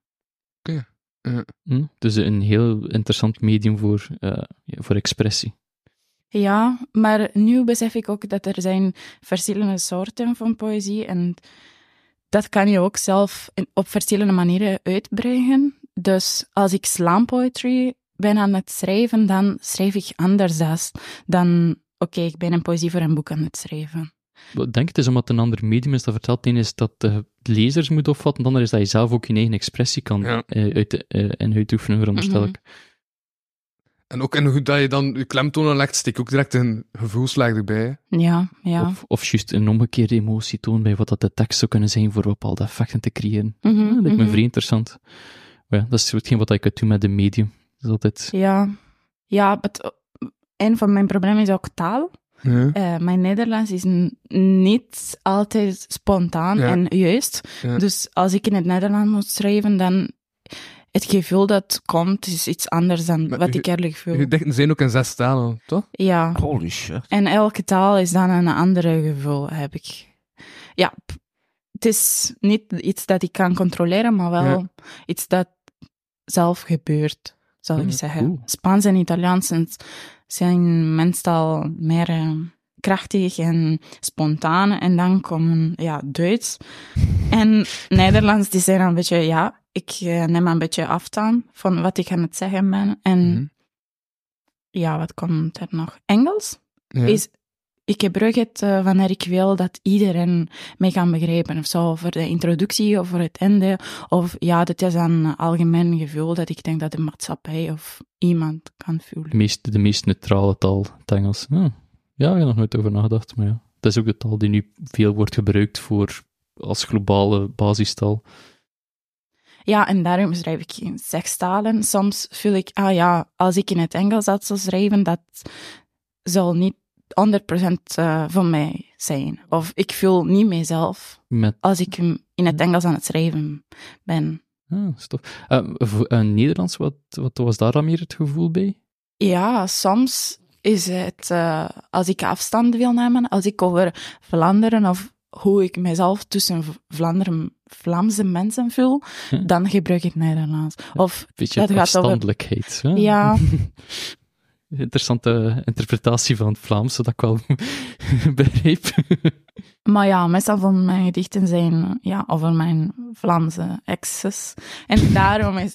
Hm? Dus een heel interessant medium voor, eh, ja, voor expressie. Ja, maar nu besef ik ook dat er zijn verschillende soorten van poëzie en dat kan je ook zelf in- op verschillende manieren uitbrengen. Dus als ik slam poetry ben aan het schrijven, dan schrijf ik anders dan, dan oké, ik ben een poëzie voor een boek aan het schrijven. Ik denk het is omdat het een ander medium is dat vertelt. Het ene is dat de lezers moet opvatten, het andere is dat je zelf ook je eigen expressie kan Ja. eh, uit, de- eh, en uitoefenen, veronderstel Mhm. ik. En ook en hoe dat je dan je klemtonen legt, steek ook direct een gevoelslaag erbij. hè. Ja, ja. Of, of juist een omgekeerde emotie toon bij wat dat de tekst zou kunnen zijn voor bepaalde effecten te creëren. Mhm, Ja, dat lijkt me mhm. vrij interessant. Maar ja, dat is hetgeen wat ik kunt doen met de medium. Dat is altijd... Ja, ja het, een van mijn problemen is ook taal. Ja. Eh, mijn Nederlands is n- niet altijd spontaan Ja. en juist. Ja. Dus als ik in het Nederlands moet schrijven, dan het gevoel dat komt is iets anders dan Maar wat u- ik eerlijk voel. Gedichten zijn ook in zes talen, toch? ja. Holy shit. En elke taal is dan een andere gevoel, heb ik. Ja, p- het is niet iets dat ik kan controleren, maar wel Ja. iets dat zelf gebeurt, zal ik Ja, zeggen. cool. Spaans en Italiaans zijn- zijn meestal meer eh, krachtig en spontaan. En dan komen ja, Duits en Nederlands, die zijn een beetje, ja, ik eh, neem een beetje afstand van wat ik aan het zeggen ben. En Mhm. ja, wat komt er nog? Engels? Ja. is, ik gebruik het eh, wanneer ik wil dat iedereen mij kan begrijpen of zo. Voor de introductie of voor het einde. Of ja, dat is een algemeen gevoel dat ik denk dat de maatschappij of iemand kan de voelen. meest, de meest neutrale taal, het Engels. Ja, ja ik heb er nog nooit over nagedacht, maar ja. Dat is ook de taal die nu veel wordt gebruikt voor als globale basistaal. Ja, en daarom schrijf ik in zes talen. Soms voel ik, ah ja, als ik in het Engels dat zou schrijven, dat zal niet 100% eh, van mij zijn. Of ik voel niet mezelf Met, als ik hem in het Engels aan het schrijven ben. ah, stof. Eh, voor- eh, Nederlands, wat, wat was daar dan meer het gevoel bij? Ja, soms is het eh, als ik afstand wil nemen, als ik over Vlaanderen of hoe ik mezelf tussen V- Vlaanderen, Vlaamse mensen voel, Ja. dan gebruik ik Nederlands. Of Beetje Dat gaat over- afstandelijkheid. hè? Ja. Interessante interpretatie van het Vlaams, dat ik wel begreep. Maar ja, meestal van mijn gedichten zijn ja, over mijn Vlaamse exes. En daarom is...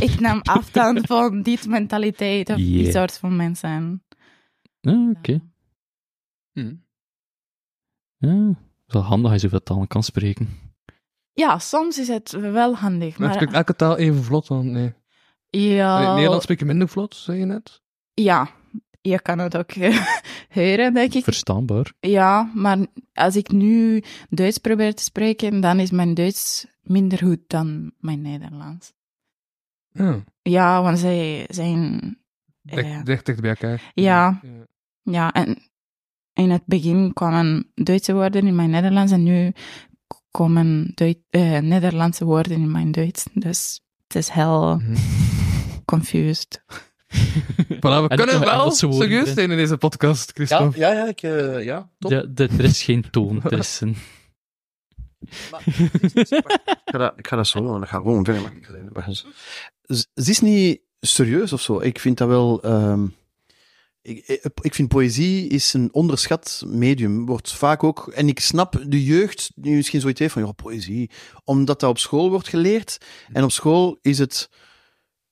Ik neem afstand van die mentaliteit of die Yeah. soort van mensen. Ah, Oké. Hm. Ja, het is wel handig als je zoveel talen kan spreken. Ja, soms is het wel handig. Maar spreekt Maar, Oh. elke taal even vlot dan? Nee. In het ja, Ah, Nederlands spreek je minder vlot, zei je net. ja, je kan het ook eh, horen, denk ik. Verstaanbaar. Ja, maar als ik nu Duits probeer te spreken, dan is mijn Duits minder goed dan mijn Nederlands. Ja. Ja, want zij zijn. eh, Dicht, dicht, dicht bij elkaar. Ja. ja, en in het begin kwamen Duitse woorden in mijn Nederlands en nu k- komen Duit- eh, Nederlandse woorden in mijn Duits. Dus het is heel Mhm. confused. Voilà, we En kunnen nog wel Engelse woorden serieus erin. zijn in deze podcast, Christophe. ja, ja, ik, eh, ja, top. Ja, de- er is geen toon, er is een... Ik, ga dat, ik ga dat zo doen, en dan gaan we gewoon verder. Maar ik ga dat even begrijpen. Z- Ze is niet serieus of zo. Ik vind dat wel... ehm, ik, ik- ik vind poëzie is een onderschat medium. Wordt vaak ook... En ik snap de jeugd die misschien zoiets heeft van, ja, poëzie. Omdat dat op school wordt geleerd. En op school is het...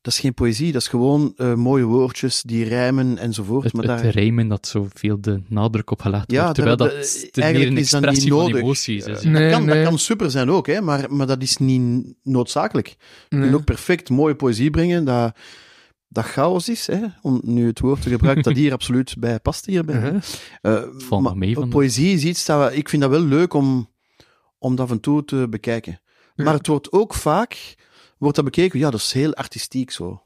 Dat is geen poëzie, dat is gewoon eh, mooie woordjes die rijmen enzovoort. Het, maar het daar, rijmen dat zoveel de nadruk op gelegd Ja, wordt, terwijl dat- dat, dat- te meer eigenlijk een is dat niet expressie van nodig. emoties is. dat, hè. Nee, kan, nee. dat kan super zijn ook, hè, maar, maar dat is niet noodzakelijk. Je Nee. kunt ook perfect mooie poëzie brengen dat, dat chaos is, hè? om nu het woord te gebruiken dat hier absoluut bij past. Hierbij. Mhm. Eh, Uh-huh. Valt maar nog mee van- poëzie is iets dat we- ik vind dat wel leuk om, om dat af en toe te bekijken. Ja. Maar het wordt ook vaak wordt dat bekeken, ja, dat is heel artistiek zo.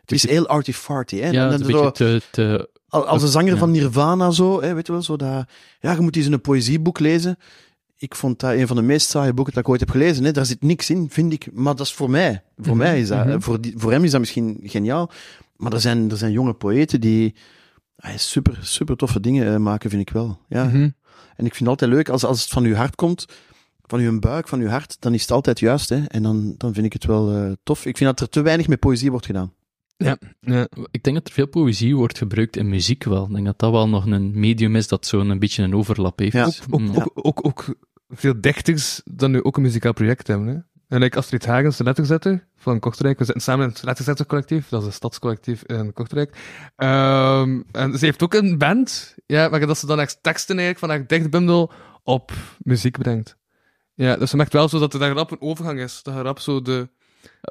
Het is heel arty-farty. Hè? Ja, het En dan is een zo- beetje te... te al- als een zanger Ja. van Nirvana zo, hè, weet je wel, zo dat, ja, je moet eens een poëzieboek lezen. Ik vond dat een van de meest saaie boeken dat ik ooit heb gelezen. Hè. Daar zit niks in, vind ik. Maar dat is voor mij. Voor mij is dat. hè. Voor, die, voor hem is dat misschien geniaal. Maar er zijn, er zijn jonge poëten die ah, super, super toffe dingen eh, maken, vind ik wel. Ja. Mhm. En ik vind het altijd leuk, als, als het van uw hart komt, van uw buik, van uw hart, dan is het altijd juist. Hè. En dan, dan vind ik het wel eh, tof. Ik vind dat er te weinig met poëzie wordt gedaan. Ja. ik denk dat er veel poëzie wordt gebruikt in muziek wel. Ik denk dat dat wel nog een medium is dat zo'n een beetje een overlap heeft. Ja. Ook, Mm. ook, ook, ook veel dichters dan nu ook een muzikaal project hebben. Hè? En like Astrid Hagens, de letterzetter van Kortrijk. We zitten samen in het letterzettercollectief. Dat is een stadscollectief in Kortrijk. Ehm, en ze heeft ook een band. Ja, maar dat ze dan echt teksten eigenlijk van haar dichtbundel op muziek brengt. Ja, dus ze merkt wel zo dat er daar rap een overgang is. Dat er rap zo de...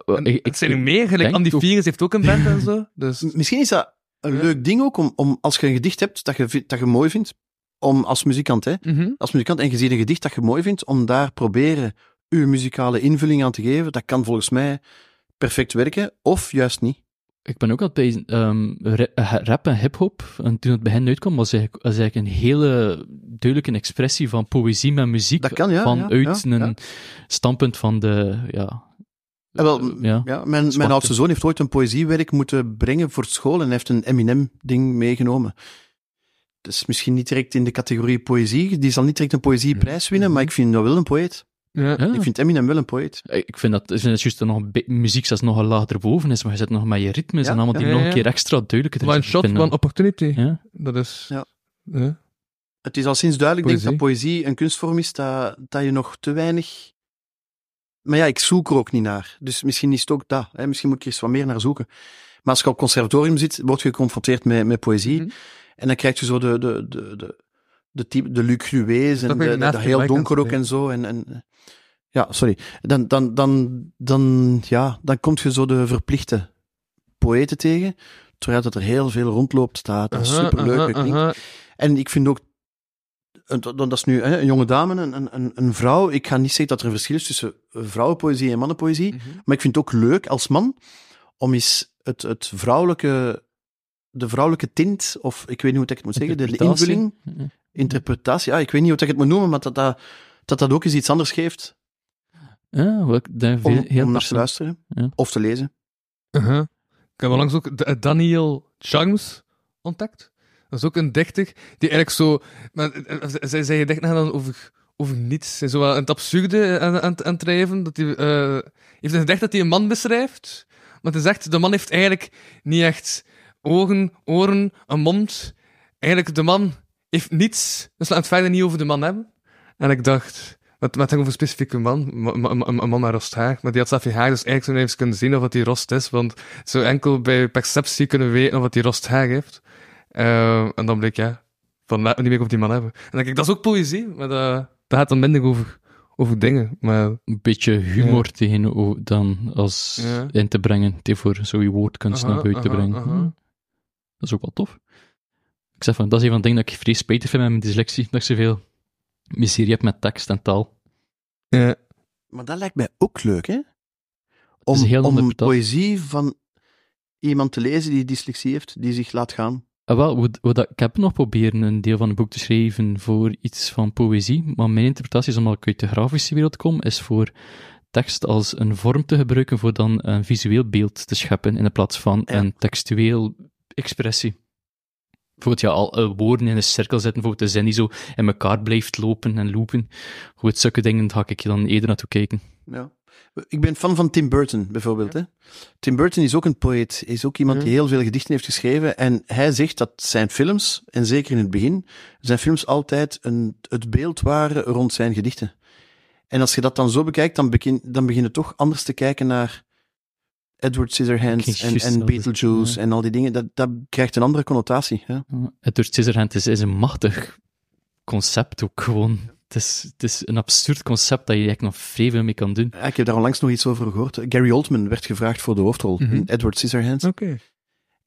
En, eh, ik, het zijn er meer. Like denk Andy ook- Virus heeft ook een band en zo. Dus... M- Misschien is dat een Ja. leuk ding ook, om, om als je een gedicht hebt dat je, vi- dat je mooi vindt, om als muzikant, hè, Mhm. als muzikant en je ziet een gedicht dat je mooi vindt, om daar proberen uw muzikale invulling aan te geven, dat kan volgens mij perfect werken, of juist niet. Ik ben ook aan het bezig. ehm, ra- eh, rap en hip-hop. En toen het begin uitkwam, was eigenlijk, was eigenlijk een hele duidelijke expressie van poëzie met muziek. Dat kan, ja, vanuit ja, ja, een ja. standpunt van de. Ja, Eh, wel, m- ja. ja. mijn, mijn Zwarte. oudste zoon heeft ooit een poëziewerk moeten brengen voor school en hij heeft een Eminem-ding meegenomen. Dat is misschien niet direct in de categorie poëzie. Die zal niet direct een poëzieprijs winnen, maar ik vind dat wel een poëet. Ja. Ja. Ik vind Eminem wel een poëet. Eh, Ik vind dat, ik vind dat juist nog een be- muziek zelfs nog een laag erboven is, maar je zit nog met je ritmes Ja, en allemaal die ja, nog ja. een keer extra duidelijk One shot, one opportunity. Ja. Dat is... Ja. Ja. Het is al sinds duidelijk denk ik, dat Poëzie. poëzie een kunstvorm is dat, dat je nog te weinig. Maar ja, ik zoek er ook niet naar. Dus misschien is het ook dat. Hè? Misschien moet ik er eens wat meer naar zoeken. Maar als je op conservatorium zit, word je geconfronteerd met, met poëzie. Mhm. En dan krijg je zo de, de, de, de, de, type, de Luc Ruez Dat en ben ik de, de, naast dat de heel mic aan het donker ook en zo. En, en, ja, sorry. Dan, dan, dan, dan, ja, dan kom je zo de verplichte poëten tegen. Terwijl dat er heel veel rondloopt, dat, dat Aha, superleuk aha, klinkt. aha. En ik vind ook, en dat dat is nu hè, een jonge dame, een- een, een, een vrouw. Ik ga niet zeggen dat er een verschil is tussen vrouwenpoëzie en mannenpoëzie. Mhm. Maar ik vind het ook leuk als man om eens het, het vrouwelijke, de vrouwelijke tint, of ik weet niet hoe ik het moet zeggen, de, de Interpretatie. invulling, interpretatie. Ja, ik weet niet hoe ik het moet noemen, maar dat dat, dat, dat ook eens iets anders geeft Ja, wat ik daar om, veel, heel om naar te persoon- luisteren Ja. of te lezen. Uh-huh. Ik heb onlangs ook D- Daniel Charms ontdekt. Dat is ook een dichter die eigenlijk zo. Maar, eh, eh, zij, zij gedichten gaan dan over, over niets. Zij is zo wel het absurde eh, aan, aan, aan het drijven. Dat hij eh, heeft een gedicht dat hij een man beschrijft. Maar hij zegt: de man heeft eigenlijk niet echt ogen, oren, een mond. Eigenlijk, de man heeft niets. Dus laat het verder niet over de man hebben. En ik dacht, wat met over een specifieke man, ma- ma- ma- een man met rost haar, maar die had zelf geen haar, dus eigenlijk zou je even kunnen zien of dat die rost is, want zo enkel bij perceptie kunnen weten of dat die rost haar heeft. Ehm, en dan bleek, ja, van laat me niet meer op die man hebben. En dan denk ik, dat is ook poëzie, maar dat, dat gaat dan minder over, over dingen. Maar een beetje humor tegenover dan als Ja. in te brengen, te voor zo'n woordkunst Aha, naar aha, buiten te brengen. aha. Dat is ook wel tof. Ik zeg van, dat is een van de dingen dat ik vrij spijtig vind met mijn dyslexie, dat ik zoveel miserie heb met tekst en taal. ja, Maar dat lijkt mij ook leuk, hè? is Om, heel om interpretatie. poëzie van iemand te lezen die dyslexie heeft, die zich laat gaan. Ah, wel, wat, wat dat- ik heb nog proberen een deel van het boek te schrijven voor iets van poëzie, maar mijn interpretatie is omdat ik uit de grafische wereld kom, is voor tekst als een vorm te gebruiken voor dan een visueel beeld te scheppen in de plaats van Ja. een textueel expressie. Bijvoorbeeld, ja, al eh, woorden in een cirkel zetten, bijvoorbeeld de zin die zo in elkaar blijft lopen en lopen. Hoe het zulke dingen, daar ga ik dan eerder naartoe kijken. Ja. Ik ben fan van Tim Burton, bijvoorbeeld. Hè? Tim Burton is ook een poëet. Is ook iemand die Mhm. heel veel gedichten heeft geschreven. En hij zegt dat zijn films, en zeker in het begin, zijn films altijd een, het beeld waren rond zijn gedichten. En als je dat dan zo bekijkt, dan begin, dan begin je toch anders te kijken naar Edward Ik Scissorhands ging en, juist en zelf- Beetlejuice ja. en al die dingen. Dat, dat krijgt een andere connotatie. Hè? Het door Scissorhand is, is een machtig concept ook gewoon. Het is, het is een absurd concept dat je eigenlijk nog vrij veel mee kan doen. Ja, Ah, Ik heb daar onlangs nog iets over gehoord. Gary Oldman werd gevraagd voor de hoofdrol Mhm. in Edward Scissorhands. oké.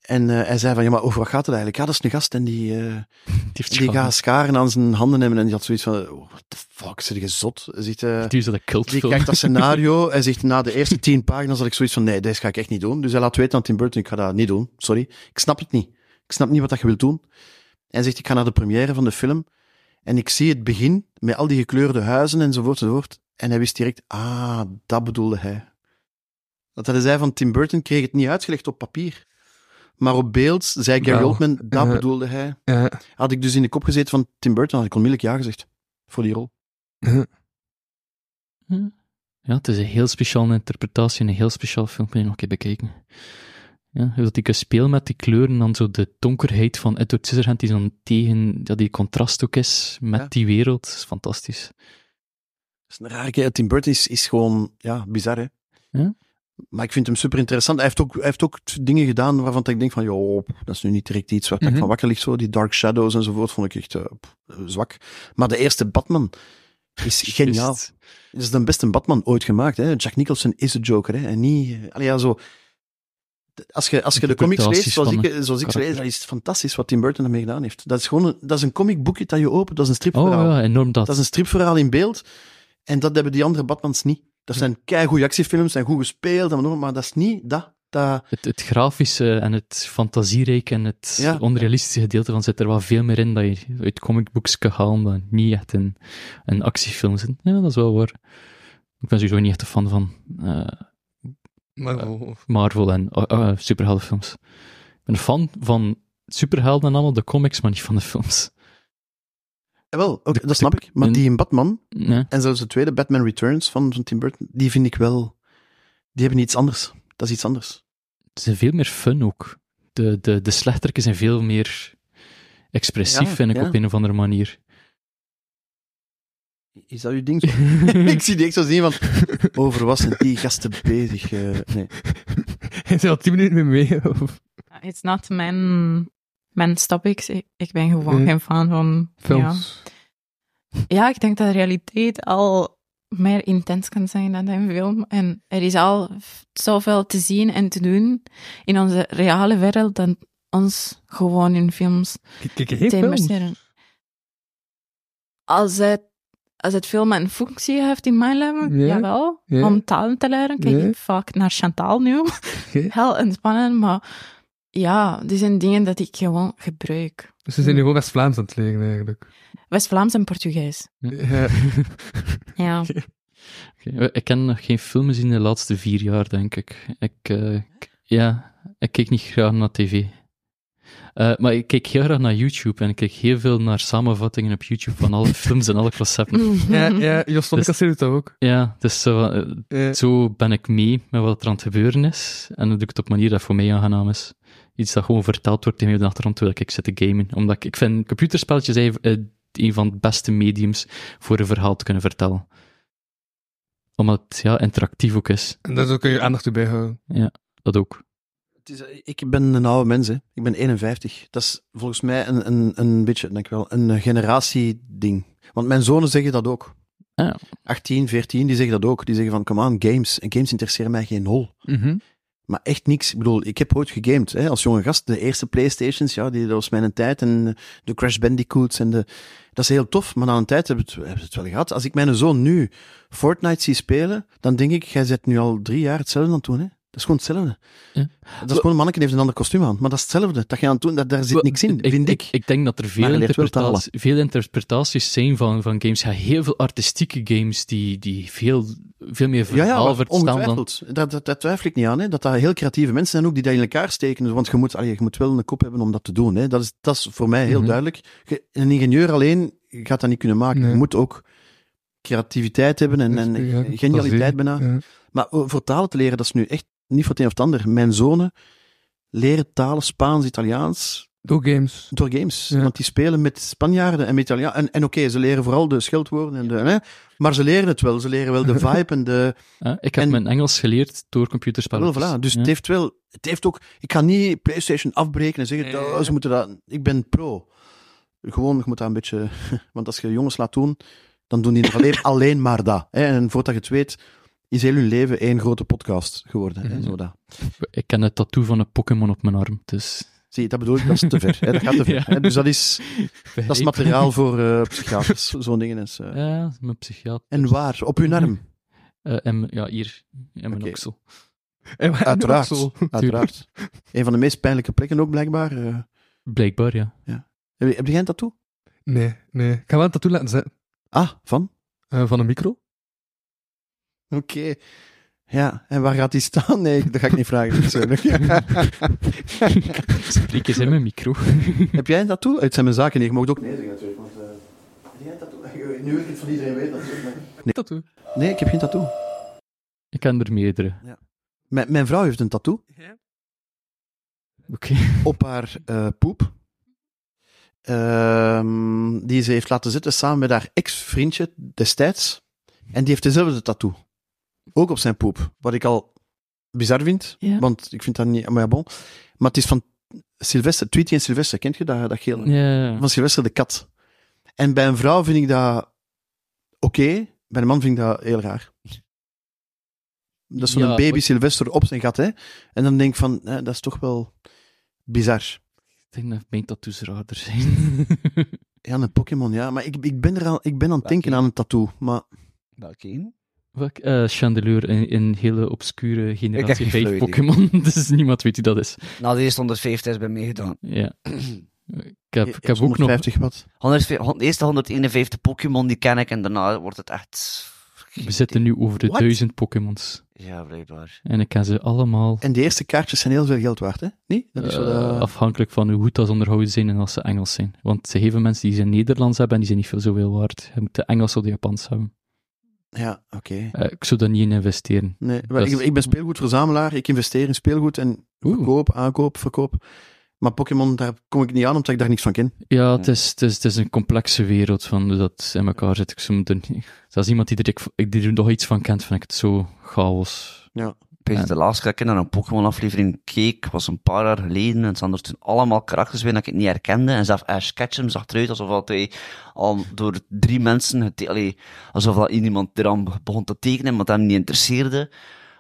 En eh, hij zei van, ja, maar over wat gaat het eigenlijk? Ja, dat is een gast en die... eh, Die heeft Die gewoon- gaat scharen aan zijn handen hebben en die had zoiets van, oh, what the fuck, zit je zot? Hij Zegt, eh, Die is dat een die cultfilm. kijkt dat scenario en zegt na de eerste tien pagina's had ik zoiets van, nee, deze ga ik echt niet doen. Dus hij laat weten aan Tim Burton, ik ga dat niet doen, sorry. Ik snap het niet. Ik snap niet wat dat je wilt doen. Hij zegt, ik ga naar de première van de film en ik zie het begin met al die gekleurde huizen enzovoort enzovoort. En hij wist direct, ah, dat bedoelde hij. Dat hij zei van Tim Burton kreeg het niet uitgelegd op papier. Maar op beeld zei Gary Wel, Oldman, dat eh, bedoelde hij. ja. Had ik dus in de kop gezeten van Tim Burton, had ik onmiddellijk ja gezegd. Voor die rol. Ja, het is een heel speciale interpretatie en een heel speciaal film. Moet je nog een keer bekijken. Ja, hoe dat ik speel met die kleuren en dan zo de donkerheid van Edward Scissorhand die dan tegen, ja, die contrast ook is met Ja. die wereld. is fantastisch. Dat is een rare keer. Tim Burton is, is gewoon ja, bizar, hè. Ja. Maar ik vind hem super interessant. Hij heeft ook, hij heeft ook t- dingen gedaan waarvan ik denk van, joh, dat is nu niet direct iets waar Mhm. ik van wakker ligt. Zo. Die Dark Shadows enzovoort vond ik echt eh, pff, zwak. Maar de eerste Batman is geniaal. Juist. Dat is de beste Batman ooit gemaakt. Hè? Jack Nicholson is de Joker. Hè? En niet... eh, Allee, ja, zo... De- Als je, als je de comics leest, Interpretaties zoals van ik, eh, zoals ik ze karakter. lees, dan is het fantastisch wat Tim Burton ermee gedaan heeft. Dat is gewoon een, dat is een comicboekje dat je opent, dat is een Oh stripverhaal. ja, enorm dat. Dat is een stripverhaal in beeld. En dat hebben die andere Batmans niet. Dat zijn keigoede actiefilms, zijn goed gespeeld, en wat dan ook, maar dat is niet dat. dat Het, het grafische en het fantasierijk en het Ja. onrealistische gedeelte van zit er wel veel meer in dat je uit comicbooks kan halen dan niet echt in, in actiefilms. zit. Ja, dat is wel waar. Ik ben sowieso niet echt een fan van eh, Maar, oh. Marvel en eh, eh, superheldenfilms. Ik ben een fan van superhelden en allemaal de comics, maar niet van de films. jawel, ook, De- eh, dat snap ik. Maar de- die in Batman, Nee. en zelfs de tweede, Batman Returns van, van Tim Burton, die vind ik wel... Die hebben iets anders. Dat is iets anders. Ze zijn veel meer fun ook. De, de, de slechterken zijn veel meer expressief, Ja, vind ik, ja. op een of andere manier. Is dat uw ding? Zo? ik zie die echt zo zien van... Over was zijn die gasten bezig? eh, nee. hij is al tien minuten mee mee. of- It's not mijn, mijn topics. Ik, ik ben gewoon Nee. geen fan van Ja. Films. ja, ik denk dat de realiteit al meer intens kan zijn dan een film. En er is al f- zoveel te zien en te doen in onze reale wereld dan ons gewoon in films Kijk, kijk, geen te films. immerseren. Als het, als het film een functie heeft in mijn leven, Ja, jawel. ja. Om talen te leren, kijk Ja. ik vaak naar Chantal nu. Ja. Heel ontspannend, maar ja, dit zijn dingen dat ik gewoon gebruik. Dus ze zijn nu gewoon West-Vlaams aan het leren, eigenlijk. West-Vlaams en Portugees. Ja. Ja. Oké, Eh, Ik ken nog geen film gezien in de laatste vier jaar, denk ik. ik eh, k- ja, ik kijk niet graag naar tv. Eh, maar ik kijk heel graag naar YouTube en ik kijk heel veel naar samenvattingen op YouTube van alle films en alle concepten. ja, ja, Jos Dus- Tonkas doet dat ook. Ja, dus zo, eh, Ja. zo ben ik mee met wat er aan het gebeuren is. En dat doe ik het op een manier dat voor mij aangenaam is. Iets dat gewoon verteld wordt tegen mij op de achtergrond terwijl ik zit te gamen. Omdat ik, ik vind computerspelletjes eigenlijk, eh, een van de beste mediums voor een verhaal te kunnen vertellen. Omdat het ja, interactief ook is. En daar kun je aandacht bij houden. Dat ook. Het is, eh, ik ben een oude mens, hè. Ik ben 51. Dat is volgens mij een, een, een beetje, denk ik wel, een eh, generatieding. Want mijn zonen zeggen dat ook. Ah, ja. 18, 14, die zeggen dat ook. Die zeggen van, come on, games. En games interesseren mij geen hol. Mhm. Maar echt niks. Ik bedoel, ik heb ooit gegamed, hè, als jonge gast. De eerste Playstations, ja, die, dat was mijn tijd. En eh, de Crash Bandicoots en de... Dat is heel tof, maar na een tijd hebben we het, hebben we het wel gehad. Als ik mijn zoon nu Fortnite zie spelen, dan denk ik, jij zit nu al drie jaar hetzelfde aan het doen, hè. Dat is gewoon hetzelfde. Ja. Dat is gewoon een mannetje heeft een ander kostuum aan. Maar dat is hetzelfde. Dat je aan het doen, dat, daar zit niks in, vind ik. Ik, denk dat er Maar veel, je leert wel talen. interpretaties, veel interpretaties zijn van, van games. Ja, heel veel artistieke games die, die veel, veel meer Ja, verhaal ja, verstaan dan... ongetwijfeld. Daar, daar, daar twijfel ik niet aan. Hè. Dat dat heel creatieve mensen zijn ook die dat in elkaar steken. Dus, Want je moet, allee, je moet wel een kop hebben om dat te doen. Hè. Dat, is, dat is voor mij heel Mhm. duidelijk. Je- een ingenieur alleen gaat dat niet kunnen maken. Nee. Je moet ook creativiteit hebben Dus en, en genialiteit bijna. bijna. Maar o- voor talen te leren, dat is nu echt niet voor het een of het ander. Mijn zonen leren talen Spaans, Italiaans Door games. door games. Ja. Want die spelen met Spanjaarden en met Italiaans. En, en oké, ze leren vooral de scheldwoorden. En de, hè, maar ze leren het wel. Ze leren wel de vibe en de... Hè? Ik heb En- mijn Engels geleerd door computerspelletjes. Wel, voilà. Dus Ja. het heeft wel, het heeft ook, ik ga niet PlayStation afbreken en zeggen, Nee, nee, "Oh, nee. ze moeten dat, ik ben pro. Gewoon, je moet dat een beetje, want als je jongens laat doen, dan doen die nog alleen, alleen maar dat. Hè? En voordat je het weet, is heel hun leven één grote podcast geworden. Hè? Mhm. Zo dat. Ik ken het tattoo van een Pokémon op mijn arm, dus... Zie je, dat bedoel ik, dat is te ver. Hè? Dat gaat te ver. Ja. Hè? Dus dat is, dat is Begrijp. materiaal voor eh, psychiaters, zo'n dingen. Is, eh. Ja, mijn psychiater. En waar? Op hun arm, Eh, en, mijn- ja, hier. In mijn Oké. oksel. En we- uiteraard. Zo. uiteraard. Een van de meest pijnlijke plekken ook, blijkbaar. eh. Blijkbaar, ja. heb, je, heb jij een tattoo? Nee, nee. Ik ga wel een tattoo laten zetten. Ah, van? Eh, van een micro. Oké. Ja, en waar gaat die staan? Nee, dat ga ik niet vragen. natuurlijk. Spreek eens in mijn micro. Heb jij een tattoo? Het zijn mijn zaken niet. Je mag ook nee zeggen natuurlijk. Want, eh, heb jij een tattoo? Nu wil ik het van iedereen weten. Tattoo. Nee, ik heb geen tattoo. Ik ken er meerdere. Mijn, mijn vrouw heeft een tattoo Oké. op haar eh, poep. Ehm, die ze heeft laten zitten samen met haar ex-vriendje destijds. En die heeft dezelfde tattoo. Ook op zijn poep. Wat ik al bizar vind. Ja. Want ik vind dat niet... Maar ja, bon. Maar het is van Sylvester. Tweety en Sylvester. Kent je dat, dat geel? Ja. Van Sylvester de kat. En bij een vrouw vind ik dat oké. Bij een man vind ik dat heel raar. Dat is zo'n Ja, baby maar- Sylvester op zijn gat, hè. En dan denk ik van, eh, dat is toch wel bizar. Ik denk dat mijn tattoos raarder zijn. Ja, een Pokémon, ja. Maar ik, ik, ben er aan, ik ben aan het denken aan een tattoo. Maar Welke een? Welk eh chandeleur in een hele obscure heb geen generatie flauw 5 idee. Pokémon. Dus niemand weet wie dat is. Nou, die is 150 is bij mij gedaan. Ja. Ik heb, ik het heb is ook nog 150 watt. 150 hon- de eerste 151 Pokémon die ken ik en daarna wordt het echt... We zitten nu over de What? duizend Pokémons. Ja, blijkbaar. En ik ken ze allemaal En die eerste kaartjes zijn heel veel geld waard, hè? Nee? Dat is wel, eh, eh, afhankelijk van hoe goed dat ze onderhouden zijn en als ze Engels zijn. Want ze geven mensen die ze in Nederlands hebben en die zijn niet veel zoveel waard. Je moet de Engels of de Japans hebben. Ja, oké. Eh, ik zou daar niet in investeren. Nee, maar dat ik, is- ik ben speelgoedverzamelaar. Ik investeer in speelgoed en Oeh. verkoop, aankoop, verkoop. Maar Pokémon, daar kom ik niet aan, omdat ik daar niks van ken. Ja, het is, het is, het is een complexe wereld van hoe dat in elkaar zit. Ik zou er niet... Zelfs iemand die er, ik- die er nog iets van kent, vind ik het zo chaos. Ik weet Ja. dat De laatste keer dat ik naar een Pokémon-aflevering keek, was een paar jaar geleden. En ze hadden er toen allemaal karakters bij dat ik het niet herkende. En zelfs Ash Ketchum zag eruit alsof dat hij al door drie mensen... gete- allee, alsof dat iemand eraan begon te tekenen, maar dat hem niet interesseerde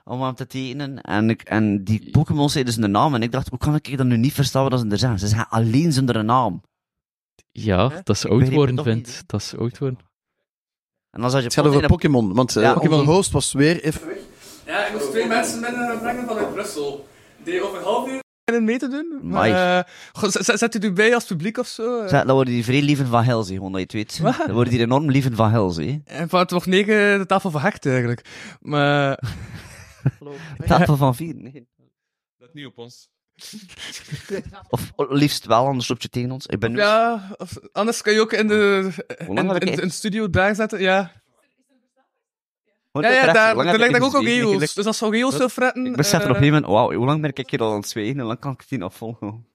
om hem te tekenen. En, ik, en die Pokémon zeiden dus een naam. En ik dacht, hoe kan ik dat nu niet verstaan wat ze er zeggen? Ze zeggen alleen zonder een naam. Ja, Hè? dat ze Ik oud begreep het worden, toch niet, vindt. hè? Dat ze oud worden. En dan zat je Het gaat over Pokémon, want eh Ja, onze Pokémon. host was weer even... Ja, ik moest twee mensen binnenbrengen vanuit Brussel. Die over half uur En mee te doen? Maar, Amai. eh, goh, z- z- zet u erbij als publiek of zo? eh? Zeg, dan worden die vrij lieven van Helze, gewoon dat je het weet. Dan worden die enorm lieven van Helze. hè. Eh, En van het wordt negen de tafel verhakt eigenlijk. Maar Tafel van vier. nee. Let niet op ons. Of liefst wel, anders op je tegen ons. Ik ben nu... ja, of- anders kan je ook in de in, had ik in- het? in de studio daar zetten. Ja, Hoor ja, je ja terecht? daar, Hoe lang daar heb ligt ik daar ook het al gezien? Ik- geo's. Dus als zo geo's wil fretten... Ik besef er op eh, een gegeven moment, wauw, hoe lang ben ik hier al aan het zwegen en lang kan ik het niet afvolgen.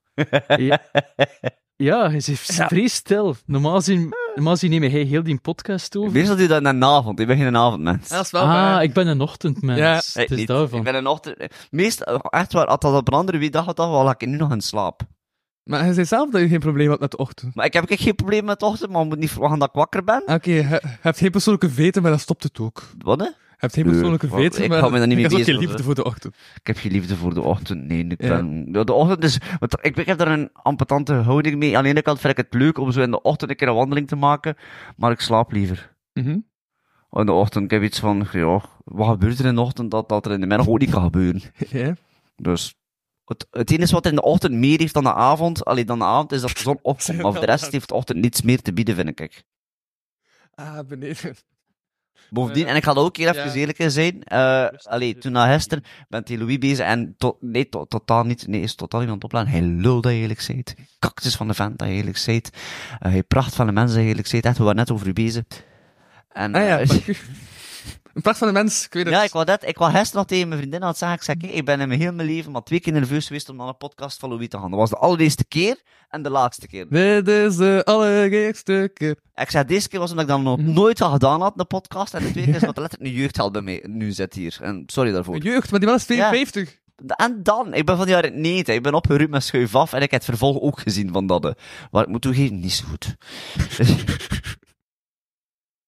Ja, hij is vrij stil. Normaal zien, normaal zien neem jij heel die podcast over. Meestal doe je dat in de avond, ik ben geen avondmens. ja, dat is wel Ah, waar. ik ben een ochtendmens. Ja. Ik het is niet. daarvan. Ik ben een ochtend... Meestal, echt waar, als dat op een andere week dag had, dan lag ik nu nog in slaap. Maar je zei zelf dat je geen probleem had met de ochtend. Ah, Maar ik heb echt geen probleem met de ochtend, maar je moet niet verwachten dat ik wakker ben. Oké, je je hebt geen persoonlijke veten, maar dan stopt het ook. Wat, hè? Je hebt geen Nee, persoonlijke want veten, ik maar hou me daar niet mee je hebt ook bezig, geen liefde hoor. voor de ochtend. Ik heb geen liefde voor de ochtend. Nee, ik Ja. ben... Ja, de ochtend is... Want ik, ik heb daar een ampetante houding mee. Aan de ene kant vind ik het leuk om zo in de ochtend een keer een wandeling te maken, maar ik slaap liever. Mhm. In de ochtend, ik heb iets van, ja, wat gebeurt er in de ochtend dat, dat er in de middag ook niet kan gebeuren? Ja. Dus het, het enige wat er in de ochtend meer heeft dan de avond, alleen dan de avond, is dat de zon opkomt. Maar voor de rest heeft de ochtend niets meer te bieden, vind ik. Ah, beneden. Bovendien, en ik ga er ook heel even Eh, Ja. eerlijk in zijn, eh allee, toen na gisteren ben ik Louis bezig en tot, nee, to- totaal niet, nee, is totaal niet aan het opladen. Hij lul dat je eerlijk zijt. Cactus van de vent dat je eerlijk zijt. Eh, hij pracht van de mensen dat je eerlijk zijt. Echt, we waren net over u bezig. En, Ah ja, eh, dank u. Een pracht van de mens, ik weet het. Ja, ik wou, dat, ik wou gisteren nog tegen mijn vriendin aan het zeggen. Ik zei, kijk, ik ben in mijn heel mijn leven maar twee keer nerveus geweest om naar een podcast van Louis te gaan. Dat was de allereerste keer en de laatste keer. Dit is de allereerste keer. Ik zei, deze keer was omdat ik dat nog Mm. nooit al gedaan had, een podcast. En de tweede keer is omdat er letterlijk een jeugdheld bij mij nu zit hier. En sorry daarvoor. Jeugd, maar die man is 52. En dan, ik ben van die jaren 90. Ik ben opgeruimd met schuif af en ik heb het vervolg ook gezien van dat. eh. Maar ik moet toegeven, niet zo goed.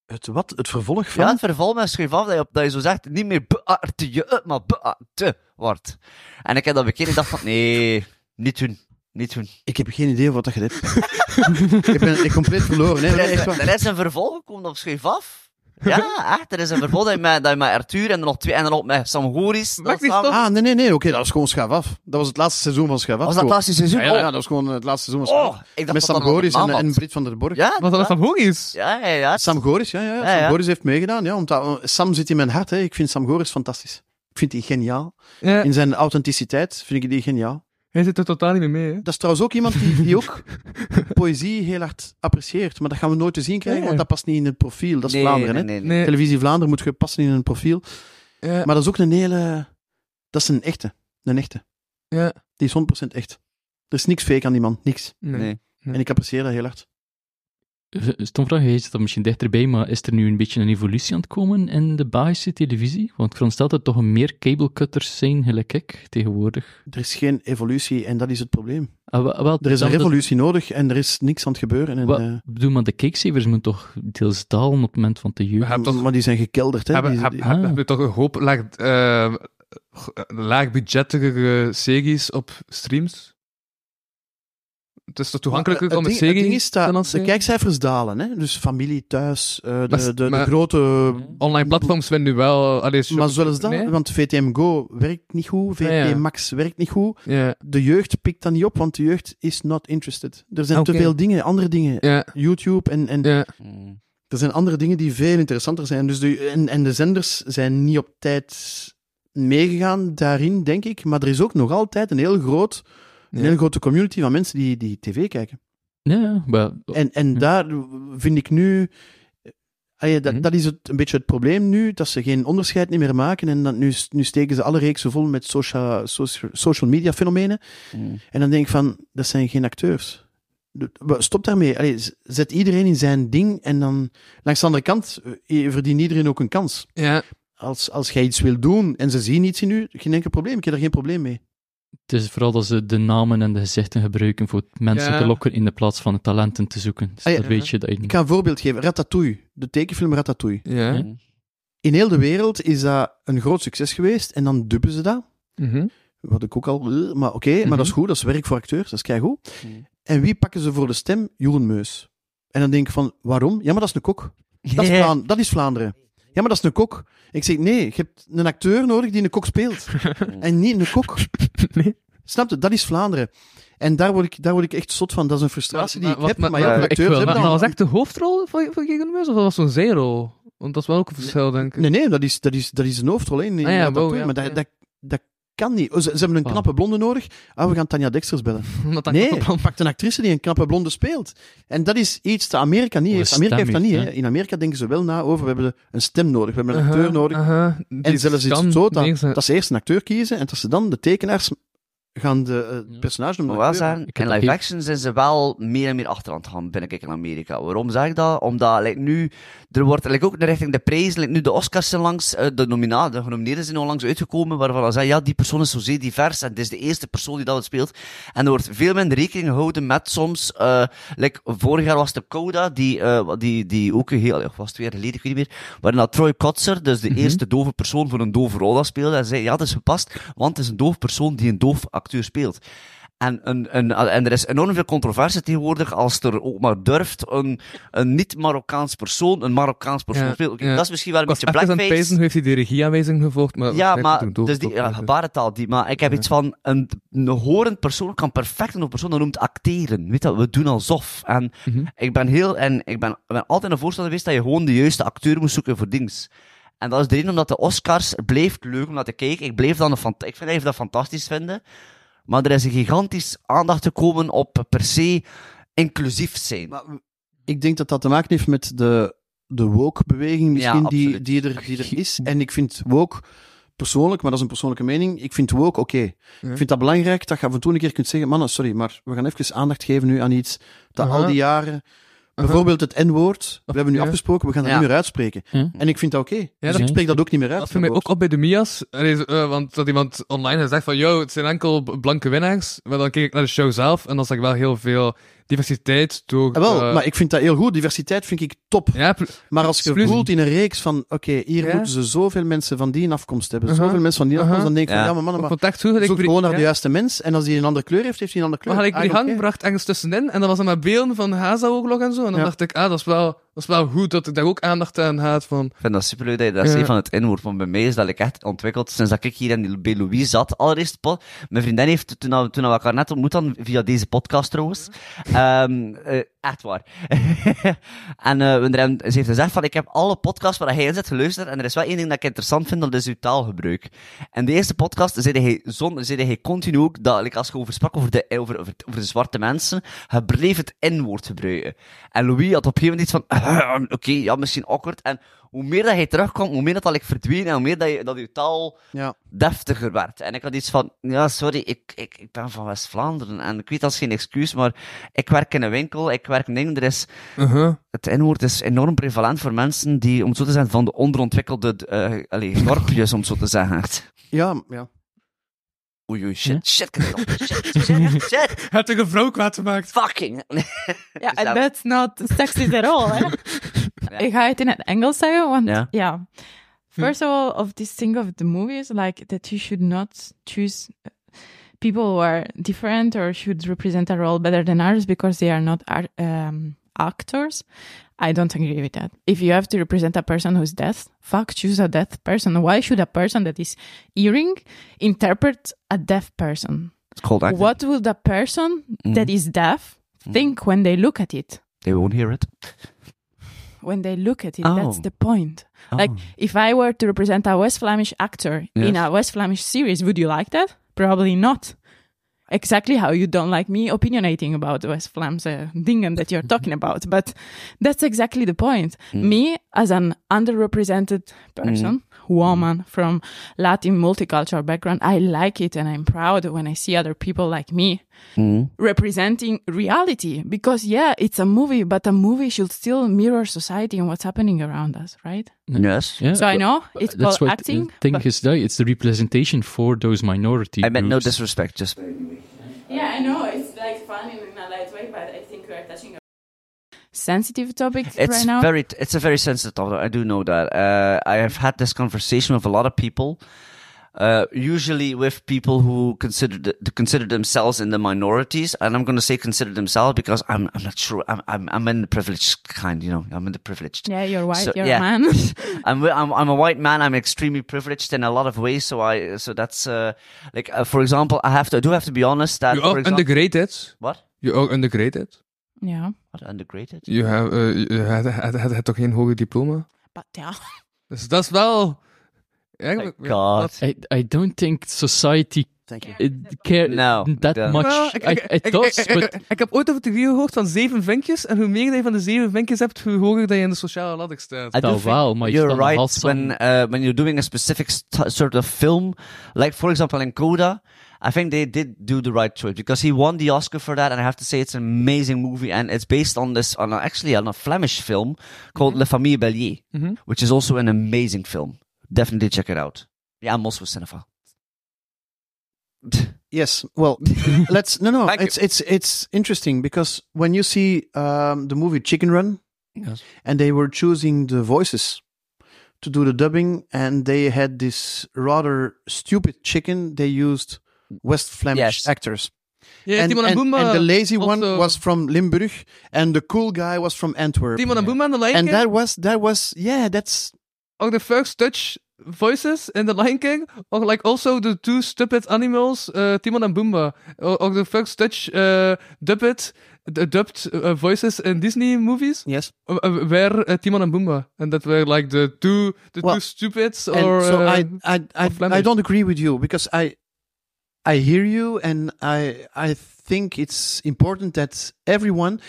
Het wat? Het vervolg van... ja, het vervolg met schuif af, dat je, op- dat je zo zegt, niet meer beaarte je, maar beaarte wordt. En ik heb dat bekeken en ik dacht van, nee, niet doen. Niet doen. Ik heb geen idee wat dat je dit... ik ben ik compleet verloren, hè. Er Oh, Nee, echt is, waar. er is een vervolg gekomen op Schuif af. Ja, echt. Er is een vervolg dat je met, dat je met Arthur en dan nog twee en dan nog met Sam Goris. Maakt niet samen- toch? Ah, nee, nee, nee. Oké, dat was gewoon schaaf af. Dat was het laatste seizoen van schaaf af. Was dat het gewoon. laatste seizoen? Ja, ja, ja, dat was gewoon het laatste seizoen van Oh, schaaf oh, af. ik dacht Met dat dat Sam nog een Goris naam en, had. en Britt van der Borg. Ja, Wat dat van hoog is. Ja, ja, ja. Sam Goris, ja, ja. Ja, Sam ja. Goris heeft meegedaan, ja. Omdat, eh, Sam zit in mijn hart, hè. Ik vind Sam Goris fantastisch. Ik vind die geniaal. Ja, In zijn authenticiteit vind ik die geniaal. hij zit er totaal niet meer mee. Hè. Dat is trouwens ook iemand die, die ook poëzie heel hard apprecieert. Maar dat gaan we nooit te zien krijgen, Ja. want dat past niet in het profiel. Dat is nee, Vlaanderen, hè. nee, nee, nee. Nee, Televisie Vlaanderen moet je passen in een profiel. ja, Maar dat is ook een hele... Dat is een echte. Een echte. ja, Die is 100% echt. Er is niks fake aan die man. Niks. nee. Nee. En ik apprecieer dat heel hard. stom vraag, jij zit er misschien dichterbij, maar is er nu een beetje een evolutie aan het komen in de Belgische televisie? Want ik veronderstel dat er toch meer cablecutters zijn, gelijk ik, tegenwoordig. Er is geen evolutie en dat is het probleem. Ah, wel- wel, Er is een dan- dat- revolutie nodig en er is niks aan het gebeuren. En, Wat, eh, bedoel, maar de kijkcijfers moeten toch deels dalen op het moment van de We jeugd. hebben toch, Maar die zijn gekelderd, hè? hebben, Die- hebben, die- hebben- ah. hebben toch een hoop laag, eh, g- laagbudgettigere series op streams? Het is toch toegankelijker Maar, om eh, een het ding- het serie ding is dat dan als de serie? kijkcijfers dalen, hè? Dus familie, thuis, eh, de, Maar- de, de maar- grote... Online platforms vinden nu wel... Allee, zo- Maar zelfs dat, Nee? want VTM Go werkt niet goed, VTM Ah, ja. Max werkt niet goed. Ja, De jeugd pikt dat niet op, want de jeugd is not interested. Er zijn Oké. te veel dingen, andere dingen. ja, YouTube en, en ja. Mm. er zijn andere dingen die veel interessanter zijn. Dus de, en, en de zenders zijn niet op tijd meegegaan daarin, denk ik. Maar er is ook nog altijd een heel, groot, een Ja. heel grote community van mensen die, die tv kijken. Ja, ja, wel, En, en Ja. daar vind ik nu. Ah ja, dat, Mhm. dat is het, een beetje het probleem nu, dat ze geen onderscheid niet meer maken. En dan, nu, nu steken ze alle reeksen vol met social, social, social media fenomenen. Mm. En dan denk ik van, dat zijn geen acteurs. De- wa- Stop daarmee. Allee, z- zet iedereen in zijn ding en dan... Langs de andere kant eh, verdient iedereen ook een kans. ja. Als, als jij iets wil doen en ze zien iets in u, geen enkel probleem. Ik heb daar geen probleem mee. het is vooral dat ze de namen en de gezichten gebruiken voor mensen Ja. te lokken in de plaats van de talenten te zoeken. Dus Ah, ja. dat weet je dat je Ik niet... ga een voorbeeld geven. Ratatouille. De tekenfilm Ratatouille. ja. Ja. In heel de wereld is dat een groot succes geweest en dan dubben ze dat. Mhm. Wat ik ook al... eh, Maar oké, maar dat is goed. Dat is werk voor acteurs. Dat is keigoed. Mhm. En wie pakken ze voor de stem? Jeroen Meus. En dan denk ik van, waarom? Ja, maar dat is een kok. Dat is, Vlaan- dat is Vlaanderen. Ja, maar dat is een kok. Ik zeg, nee, je hebt een acteur nodig die een kok speelt. en niet een kok. Nee. Snap je? Dat is Vlaanderen. En daar word ik, daar word ik echt zot van. Dat is een frustratie die ik heb. Maar, ja, maar- de ik acteurs wil- hebben Maar dan... was echt de hoofdrol van, van Gegen Meus, of was het zo'n zijrol? Want dat is wel ook een verschil, denk ik. Nee, nee, dat is, dat is, dat is een hoofdrol. hè, in- in Ah ja, Ratatouille, wow, ja. Maar dat, Ja. dat, dat kan niet. Oh, Ze, ze hebben een Wow. knappe blonde nodig. Ah, we gaan Tanja Dexters bellen. Omdat dat Nee, kapot- pakt een actrice die een knappe blonde speelt. En dat is iets dat Amerika niet Oh, Een heeft. Amerika heeft dat stem niet. heeft, Hè. In Amerika denken ze wel na over, we hebben een stem nodig, we hebben een Aha, acteur nodig. aha. En Die zelfs iets dan zo dat, neerzetten. dat ze eerst een acteur kiezen en dat ze dan de tekenaars gaan de eh, Ja. personage noemen. Maar wel acteur. zeggen, Ik heb in dat live heel- action zijn ze wel meer en meer achter aan het gaan, ben ik in Amerika. Waarom zeg ik dat? Omdat like, nu, er wordt like, ook richting de prijzen, like, nu de Oscars zijn langs, eh, de, nomina, de genomineerden zijn onlangs uitgekomen, waarvan dan zeggen, ja, die persoon is zozeer divers en dit is de eerste persoon die dat het speelt. En er wordt veel minder rekening gehouden met soms, eh, like, vorig jaar was het de Coda, die, eh, die, die ook een heel, of was het twee jaar geleden, ik weet niet meer, waarin dat Troy Kotzer, dus de Mhm. eerste dove persoon voor een dove rol dat speelde, en zei, ja, dat is gepast, want het is een doof persoon die een doof acteur speelt. En, een, een, en er is enorm veel controverse tegenwoordig als er ook maar durft een, een niet-Marokkaans persoon een Marokkaans persoon Ja, speelt. Oké, ja. Dat is misschien wel een Ik was beetje even aan het blackface. pezen, hoe heeft hij de regieaanwijzing gevolgd? Maar Ja, waarschijnlijk maar toen dood- dus die, ja, dood- gebarentaal die. Maar ik heb Ja. iets van een, een horend persoon kan perfect een persoon dat noemt acteren. Weet dat, we doen alsof. En Mhm. ik ben heel en ik ben, ik ben altijd een voorstander geweest dat je gewoon de juiste acteur moest zoeken voor dings. En dat is de reden omdat de Oscars bleef leuk om naar te kijken. Ik bleef dan een fant- ik vind even dat fantastisch vinden. Maar er is een gigantisch aandacht gekomen op per se inclusief zijn. Maar ik denk dat dat te maken heeft met de, de woke-beweging misschien Ja, die, absoluut. die, er, die er is. En ik vind woke, persoonlijk, maar dat is een persoonlijke mening, ik vind woke oké. Ik vind dat belangrijk dat je af en toe een keer kunt zeggen, mannen, sorry, maar we gaan even aandacht geven nu aan iets dat Aha. al die jaren... Bijvoorbeeld het N-woord. We hebben nu Ja. afgesproken, we gaan dat Ja. niet meer uitspreken. Ja. En ik vind dat oké. dus dat- ik spreek dat ook niet meer uit. Dat viel mij ook op bij de Mia's. Allee, eh, want dat iemand online had gezegd van, yo, het zijn enkel b- blanke winnaars. Maar dan keek ik naar de show zelf en dan zag ik wel heel veel diversiteit door... Ah, wel, eh, maar ik vind dat heel goed. Diversiteit vind ik top. ja, pl- Maar als je Exclusie. voelt in een reeks van, oké, hier Ja. moeten ze zoveel mensen van die afkomst hebben, Uh-huh. zoveel mensen van die Uh-huh. afkomst, dan denk ik van, Ja. ja, maar mannen, ik maar vond het echt goed. dat ik zoek Brie- gewoon naar Ah, de ja. juiste mens. En als die een andere kleur heeft, heeft hij een andere kleur. Maar had ik die I don't hang care. bracht ergens tussenin en dat was dan met beelden van Hazaoorlog en zo. En dan Ja. dacht ik, ah, dat is, wel, dat is wel goed dat ik daar ook aandacht aan had van... Ik vind dat superleuk dat je dat Ja. zei van het inwoord. Want bij mij is dat ik echt ontwikkeld sinds dat ik hier in die- bij Louis zat. Allereerst, po- mijn vriendin heeft, toen, we- toen we elkaar net ontmoet hadden, via deze podcast trouwens, ehm, eh, echt waar. en eh, we hebben- ze heeft gezegd van, ik heb alle podcasts waar hij in zit geluisterd en er is wel één ding dat ik interessant vind, dat is uw taalgebruik. En de eerste podcast zei hij, zon, zei hij continu ook, dat like, als je over sprak over de, over, over, over de zwarte mensen, hij bleef het N-woord gebruiken. En Louis had op een gegeven moment iets van, oké, ja, misschien awkward. En hoe meer dat hij terugkwam, hoe meer dat, dat ik verdween en hoe meer dat je, dat je taal Ja. deftiger werd. En ik had iets van, ja, sorry, ik, ik, ik ben van West-Vlaanderen en ik weet dat is geen excuus, maar ik werk in een winkel, ik werk in een er is, Uh-huh. het N-woord is enorm prevalent voor mensen die, om het zo te zeggen, van de onderontwikkelde eh allee, dorpjes, om het zo te zeggen. Ja, ja. Oei, oei, shit, shit, Karel, shit, shit, shit, Heb je een vrouw kwaad gemaakt? fucking. Ja, Dus dat- that's not sexist at all. eh? Hè? Ik ga het in het Engels zeggen, want Ja. ja. First of all, of this thing of the movie is like that you should not choose uh, people who are different or should represent a role better than others because they are not ar- um, actors. I don't agree with that. If you have to represent a person who's deaf, fuck, choose a deaf person. Why should a person that is hearing interpret a deaf person? It's called acting. What will the person Mm-hmm. that is deaf think when they look at it? They won't hear it. When they look at it, that's Oh. the point. Like, Oh. if I were to represent a West Flemish actor in Yes. a West Flemish series, would you like that? Probably not. Exactly how you don't like me opinionating about the West Flam's uh, dingen that you're talking about. But that's exactly the point. Hmm. Me, as an underrepresented person, Hmm. woman from Latin multicultural background, I like it and I'm proud when I see other people like me Mm. representing reality because yeah it's a movie but a movie should still mirror society and what's happening around us right Yes. Yeah, so i but- know it's That's called what acting the thing but- is. that It's the representation for those minority I meant no groups. disrespect, just yeah i know it's like fun in a light way but i think we're touching a sensitive topic it's right now very it's a very sensitive topic. I do know that. Uh, I have had this conversation with a lot of people, uh, usually with people who consider th- consider themselves in the minorities, and I'm going to say consider themselves because I'm I'm not sure. I'm I'm I'm in the privileged kind, you know. I'm in the privileged. yeah you're white So, you're yeah. a man I'm, wi- I'm I'm a white man. I'm extremely privileged in a lot of ways. So I so that's uh, like uh, for example, I have to I do have to be honest that You for are example, undergraded. what You are undergraded. yeah what undergraded? eh, Je hebt toch geen hoger diploma? but yeah Dus dat is wel... Eigenlijk, My ja, God. dat- I, I don't think society Thank you. uh, care No, that don't. much. Wel, ik, I, ik, I ik, does, ik- ik- but ik- ik heb ooit over de theorie gehoord van zeven vinkjes. En hoe meer dat je van de zeven vinkjes hebt, hoe hoger dat je in de sociale ladder staat. I do Oh, think wow, maar je you're staat nog right altijd when uh, when you're doing a specific st- sort of film, like for example in Coda, I think they did do the right choice because he won the Oscar for that, and I have to say it's an amazing movie, and it's based on this on a, actually on a Flemish film called La Famille Bélier, which is also an amazing film. Definitely check it out. Yeah, I'm also a cinephile. Yes. Well, let's. No, no. Thank you. it's it's it's interesting because when you see um, the movie Chicken Run, Yes. and they were choosing the voices to do the dubbing, and they had this rather stupid chicken. They used West Flemish Yes. actors, Ja, and, Timon en and, Boemba. and the lazy one also- was from Limburg, and the cool guy was from Antwerp. Timon en Boemba in de Lion and King. that was that was yeah. That's Or the first Dutch voices in the Lion King. Or like also the two stupid animals, uh, Timon en Boemba. Or, or the first Dutch uh, dubbed, d- dubbed uh, voices in Disney movies. yes. Uh, uh, were uh, Timon and Boomba, and that were like the two the Well, two stupids And or so uh, I, I, I, Flemish. I don't agree with you because I, I hear you, and I, I think it's important that everyone.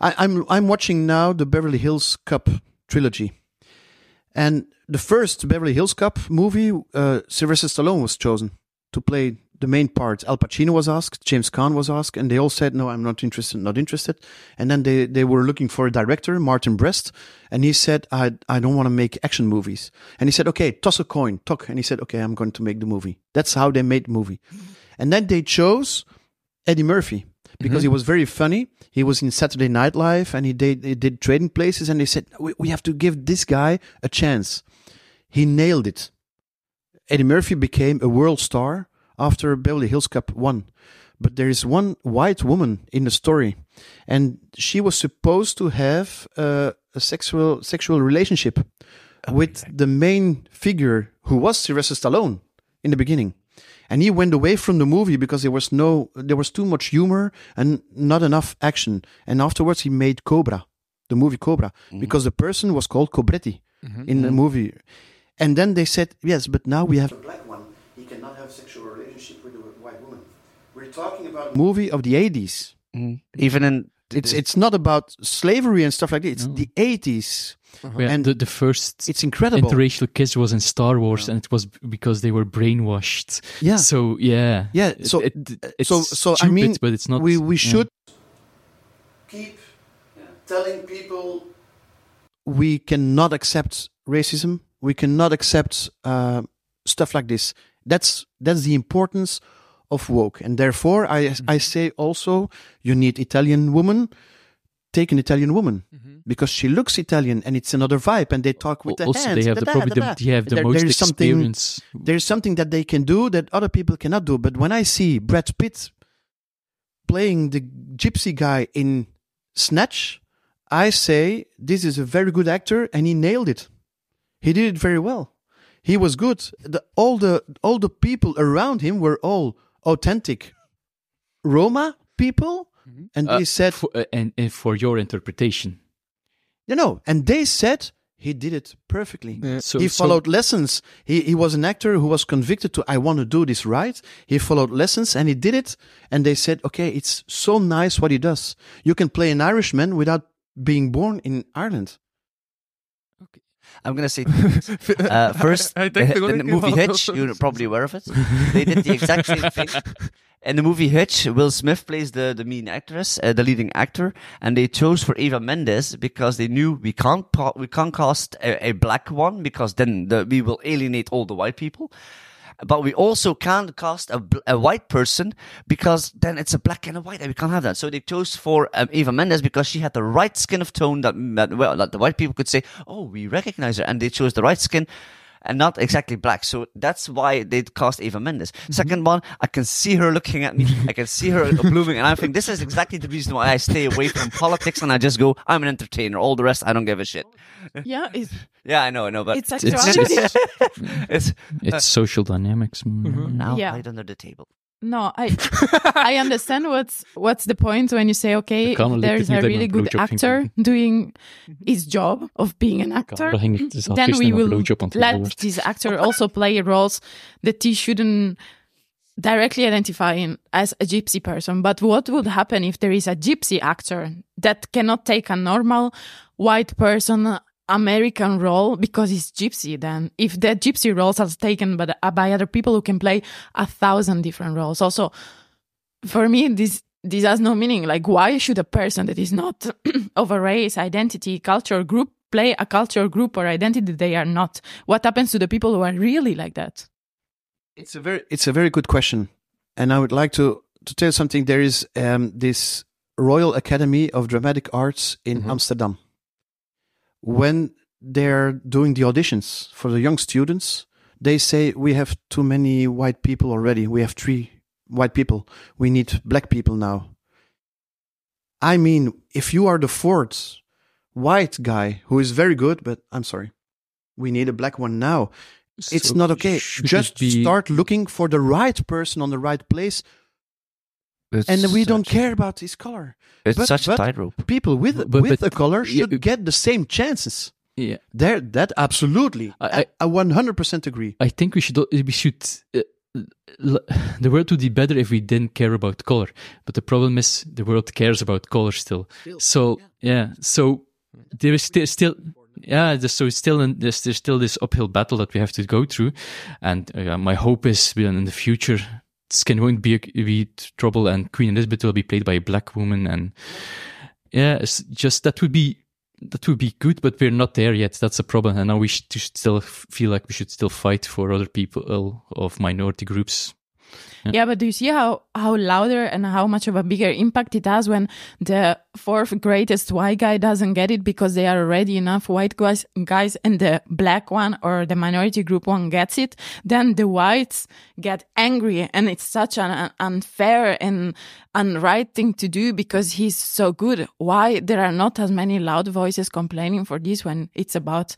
I, I'm, I'm watching now the Beverly Hills Cup trilogy, and the first Beverly Hills Cup movie, uh, Sylvester Stallone was chosen to play the main part. Al Pacino was asked, James Caan was asked, and they all said, "No, I'm not interested, not interested." And then they they were looking for a director, Martin Brest, and he said, "I I don't want to make action movies." And he said, "Okay, toss a coin, talk." And he said, "Okay, I'm going to make the movie." That's how they made the movie, and then they chose Eddie Murphy because he was very funny. He was in Saturday Night Live and he did, he did Trading Places, and they said, we, "We have to give this guy a chance." He nailed it. Eddie Murphy became a world star after Beverly Hills Cup won. But there is one white woman in the story, and she was supposed to have uh, a sexual sexual relationship with the main figure who was Sylvester Stallone in the beginning. And he went away from the movie because there was no there was too much humor and not enough action. And afterwards he made Cobra, the movie Cobra, because the person was called Cobretti in the movie. And then they said, yes, but now we have a black one. He cannot have sexual relationship with a white woman. We're talking about a movie of the 80s. Even in It's, it's not about slavery and stuff like that. It's No. the 80s. Yeah, And the, the first It's incredible. interracial kiss was in Star Wars, and it was b- because they were brainwashed. yeah. So yeah, Yeah, It- so- uh, it, it's so- so I stupid, mean, but it's not. we, we yeah. should keep telling people we cannot accept racism. We cannot accept uh, stuff like this. That's that's the importance of woke, and therefore I Mm-hmm. I say also you need Italian woman. Take an Italian woman Mm-hmm. because she looks Italian, and it's another vibe. And they talk with the also hands. they have the da-da, probably da-da. the, they have the There- most there is something experience. there's something that they can do that other people cannot do. But when I see Brad Pitt playing the gypsy guy in Snatch, I say this is a very good actor and he nailed it. He did it very well. He was good. The, all the all the people around him were all authentic Roma people, and Uh, they said for, uh, and, and for your interpretation. you know, and they said he did it perfectly Yeah. So, he so- followed lessons. He, he was an actor who was convicted to, I want to do this right. He followed lessons and he did it. And they said, okay, it's so nice what he does. You can play an Irishman without being born in Ireland. I'm gonna say two things. Uh, first, I the, think they're the gonna movie give up Hitch, also. you're probably aware of it. They did the exact same thing. In the movie Hitch, Will Smith plays the, the main actress, uh, the leading actor, and they chose for Eva Mendes because they knew we can't pa- we can't cast a, a black one because then the, we will alienate all the white people. But we also can't cast a, bl- a white person because then it's a black and a white, and we can't have that. So they chose for um, Eva Mendes because she had the right skin of tone that, that, well, that the white people could say, "Oh, we recognize her," and they chose the right skin and not exactly black. So that's why they cast Eva Mendes. Second one, I can see her looking at me. I can see her blooming, and I think this is exactly the reason why I stay away from politics and I just go, I'm an entertainer. All the rest, I don't give a shit. Ja, is, Yeah, I know, I know, but it's it's actually... just- it's It's social dynamics. Mm. man. now Yeah. right under the table. No, I I understand what's what's the point when you say okay, Karel looked there at is me a like really my good blowjob actor doing his job of being an actor. Karel ging het dus al Then gisteren we een will blowjob aan het let woord. this actor also play roles that he shouldn't directly identify in as a gypsy person. But what would happen if there is a gypsy actor that cannot take a normal white person American role because he's gypsy then? If the gypsy roles are taken by, the, uh, by other people who can play a thousand different roles. Also, for me, this this has no meaning. Like, why should a person that is not of a race, identity, culture group play a culture group or identity they are not? What happens to the people who are really like that? It's a very it's a very good question, and I would like to to tell you something. There is um, this Royal Academy of Dramatic Arts in Amsterdam. When they're doing the auditions for the young students, they say we have too many white people already. We have three white people. We need black people now. I mean, if you are the fourth white guy who is very good, but I'm sorry, we need a black one now it's So not okay. should it Just be- start looking for the right person on the right place, and we don't care about his color. It's But- such but a tightrope. People with But- with but- a color yeah, should uh, get the same chances. Yeah. There, that absolutely, I- I, I 100% agree. I think we should al- we should uh, l- the world would be better if we didn't care about color. But the problem is the world cares about color still. So yeah, so there is still still yeah. there's- So it's still in, there's there's still this uphill battle that we have to go through, and uh, yeah, my hope is we- in the future. Skin won't be, be trouble, and Queen Elizabeth will be played by a black woman, and yeah, it's just that would be that would be good, but we're not there yet. That's a problem, and now we should just still f- feel like we should still fight for other people of minority groups. Yeah. but do you see how how louder and how much of a bigger impact it has when the fourth greatest white guy doesn't get it because there are already enough white guys guys and the black one or the minority group one gets it, then the whites get angry and it's such an, an unfair and unright thing to do because he's so good. Why there are not as many loud voices complaining for this when it's about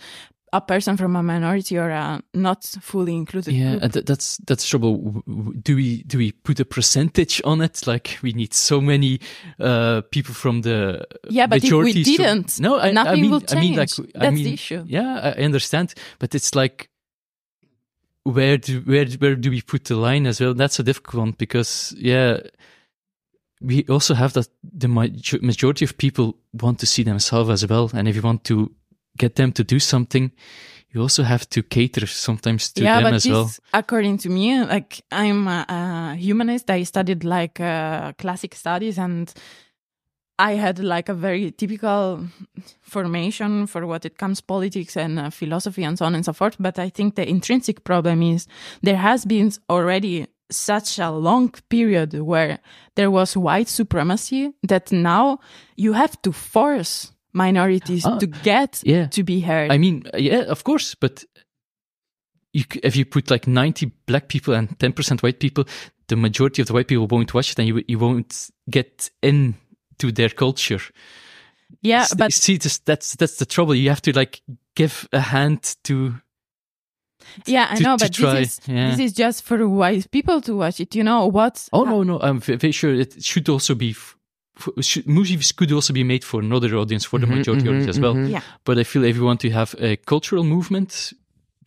a person from a minority or a not fully included Yeah, group? and th- that's that's trouble. W- w- Do we do we put a percentage on it? Like we need so many uh, people from the Yeah, but if we majorities to- didn't, no, I, I nothing mean, will I mean, like, change. I That's the mean, issue. Yeah, I I understand, but it's like where do where where do we put the line as well? That's a difficult one because yeah, we also have that the maj- majority of people want to see themselves as well. And if you want to get them to do something, you also have to cater sometimes to yeah, them but as this, well. according to me, like I'm a, a humanist. I studied like uh, classic studies, and I had like a very typical formation for what it comes politics and uh, philosophy and so on and so forth. But I think the intrinsic problem is there has been already such a long period where there was white supremacy that now you have to force minorities Ah, to get yeah. to be heard. I mean, yeah, of course, but you, c- if you put like 90 black people and 10% white people, the majority of the white people won't watch it and you, you won't get in to their culture. yeah, S- but see, this, that's, that's the trouble. You have to like give a hand to, Yeah, I to- know, to but try, this is yeah. this is just for white people to watch it. You know what? oh no, no, I'm ve- very sure it should also be, f- f- should, movies could also be made for another audience, for Mm-hmm, the majority audience as well. Yeah, But I feel if you want to have a cultural movement,